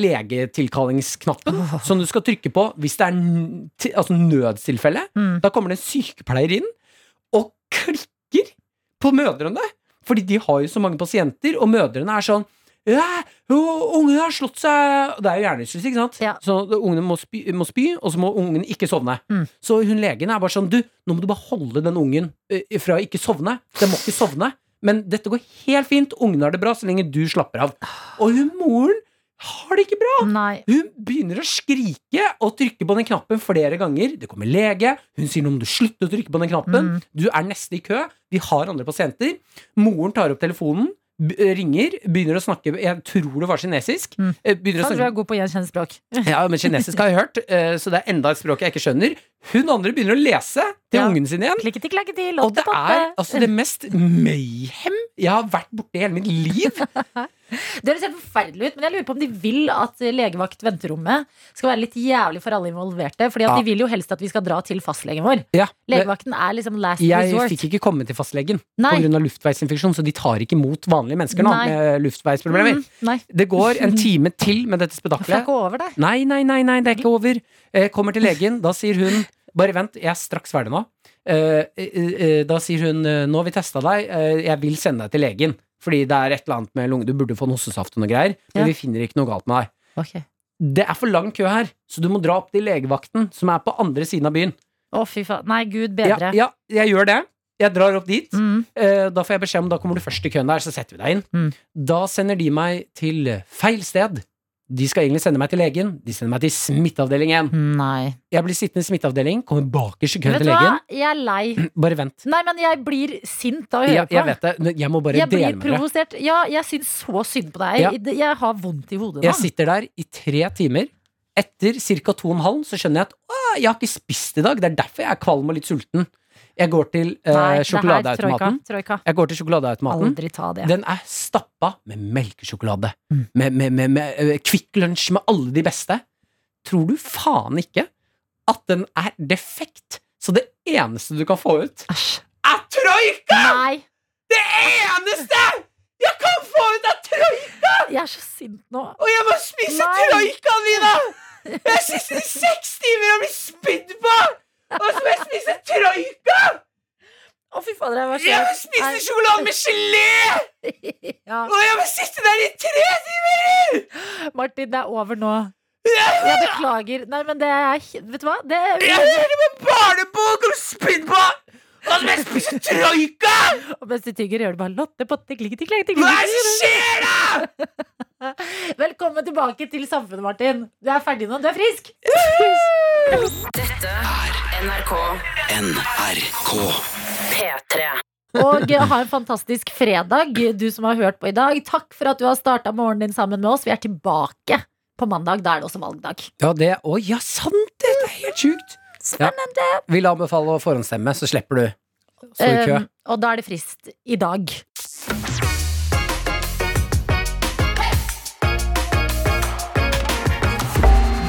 S3: legetilkallingsknappen, som du skal trykke på hvis det er n ti- altså nødstilfelle.
S4: Mm.
S3: Da kommer det en sykepleier inn og klikker på mødrene. Fordi de har jo så mange pasienter, og mødrene er sånn ja, jo, ungen har slått seg Det er jo hjernerystelse, ikke sant? Så ungene må spy, må spy, og så må ungen ikke sovne. Så hun legen er bare sånn Du, nå må du bare holde den ungen eh, fra å ikke sovne. Den må ikke sovne. Men dette går helt fint. Ungen har det bra så lenge du slapper av. Og hun moren har det ikke bra. Hun begynner å skrike og trykke på den knappen flere ganger. Det kommer lege, hun sier noe om du slutter å trykke på den knappen. Du er neste i kø. Vi har andre pasienter. Moren tar opp telefonen, b- ringer, begynner å snakke Jeg tror det var kinesisk. eh, Begynner å
S4: Han tror jeg
S3: snakke
S4: er god på å gjenkjenne språk.
S3: ja, men
S4: <laughs>
S3: kinesisk har jeg hørt, eh, så det er enda et språk jeg ikke skjønner. Hun andre begynner å lese til ungen sin igjen. og det er altså det mest mayhem jeg har vært borti i hele mitt liv.
S4: Det høres helt forferdelig ut, men jeg lurer på om de vil at legevakt-venterommet skal være litt jævlig for alle involverte. Fordi at
S3: Ja.
S4: de vil jo helst at vi skal dra til fastlegen vår.
S3: Ja, det-
S4: Legevakten er liksom last
S3: Jeg
S4: resort.
S3: fikk ikke komme til fastlegen
S4: Nei.
S3: pga. luftveisinfeksjon, så de tar ikke imot vanlige mennesker nå
S4: Nei.
S3: med luftveisproblemer.
S4: Mm, nei.
S3: Det går
S4: <laughs>
S3: en time til med dette
S4: Det er
S3: spedakkelet.
S4: ikke over, det.
S3: Nei, nei, nei, nei, det er ikke over. Eh, kommer til legen, da sier hun Bare vent, jeg er straks ferdig nå. Eh, eh, eh, da sier hun eh, Nå har vi testa deg, eh, jeg vil sende deg til legen. Fordi det er et eller annet med lunge Du burde få en hostesaft og noe greier, men
S4: Ja.
S3: vi finner ikke noe galt med deg.
S4: Ok.
S3: Det er for lang kø her, så du må dra opp til legevakten, som er på andre siden av byen.
S4: Å, fy faen. Nei, gud bedre. Mm.
S3: Ja, ja jeg gjør det. Jeg drar opp dit. Eh, Da får jeg beskjed om da kommer du først i køen der, så setter vi deg inn. Da sender de meg til feil sted. De skal egentlig sende meg til legen. De sender meg til smitteavdelingen. Jeg blir sittende i smitteavdeling, kommer bakerst i køen
S4: Vet
S3: til
S4: du hva?
S3: legen.
S4: Jeg er lei.
S3: Bare vent.
S4: Nei, men jeg blir sint av å høre
S3: Jeg, jeg
S4: på.
S3: vet det. Jeg må bare
S4: jeg
S3: dele
S4: blir
S3: med dere.
S4: provosert. Ja, jeg syns så synd på deg.
S3: Ja.
S4: Det- Jeg har vondt i hodet nå.
S3: Jeg sitter der i tre timer. Etter ca. to og en halv så skjønner jeg at å, jeg har ikke spist i dag. Det er derfor jeg er kvalm og litt sulten. Jeg går til eh,
S4: Nei, det her,
S3: sjokoladeautomaten.
S4: troika, troika.
S3: Jeg går til sjokoladeautomaten.
S4: Aldri ta det. Mm.
S3: Den er stappa med melkesjokolade. Med, med, med, med eh, Kvikk Lunsj med alle de beste. Tror du faen ikke at den er defekt? Så det eneste du kan få ut, er troika!
S4: Nei.
S3: Det eneste jeg kan få ut, er troika!
S4: Jeg er så sint nå.
S3: Og jeg må spise
S4: Nei.
S3: troikaen min, da! Jeg sitter i seks timer og blir spydd på! Og så må jeg spise troika!
S4: Å, fy fader, jeg var så
S3: Jeg må spise sjokolade med
S4: gelé! ja.
S3: Og jeg må sitte der i tre timer!
S4: Martin, det er over nå. Jeg beklager. Nei, men det er Vet du hva? Det
S3: Jeg hører på barnebok om spynnbå! Og så må jeg spise troika!
S4: Og mens du tygger, gjør du bare Lotte Potte klikk, tikk, klikk, tikk, Hva
S3: er det som skjer,
S4: da?! Velkommen tilbake til samfunnet, Martin. Du er ferdig nå. Du er frisk!
S5: Dette er NRK
S2: NRK
S5: P3.
S4: Og eh, ha en fantastisk fredag, du som har hørt på i dag. Takk for at du har starta morgenen din sammen med oss. Vi er tilbake på mandag. Da er det også valgdag.
S3: Ja, det Å ja, sant! Det er helt sjukt!
S4: Spennende!
S3: Vil anbefale å forhåndsstemme, så slipper du.
S4: Um, og da er det frist i dag.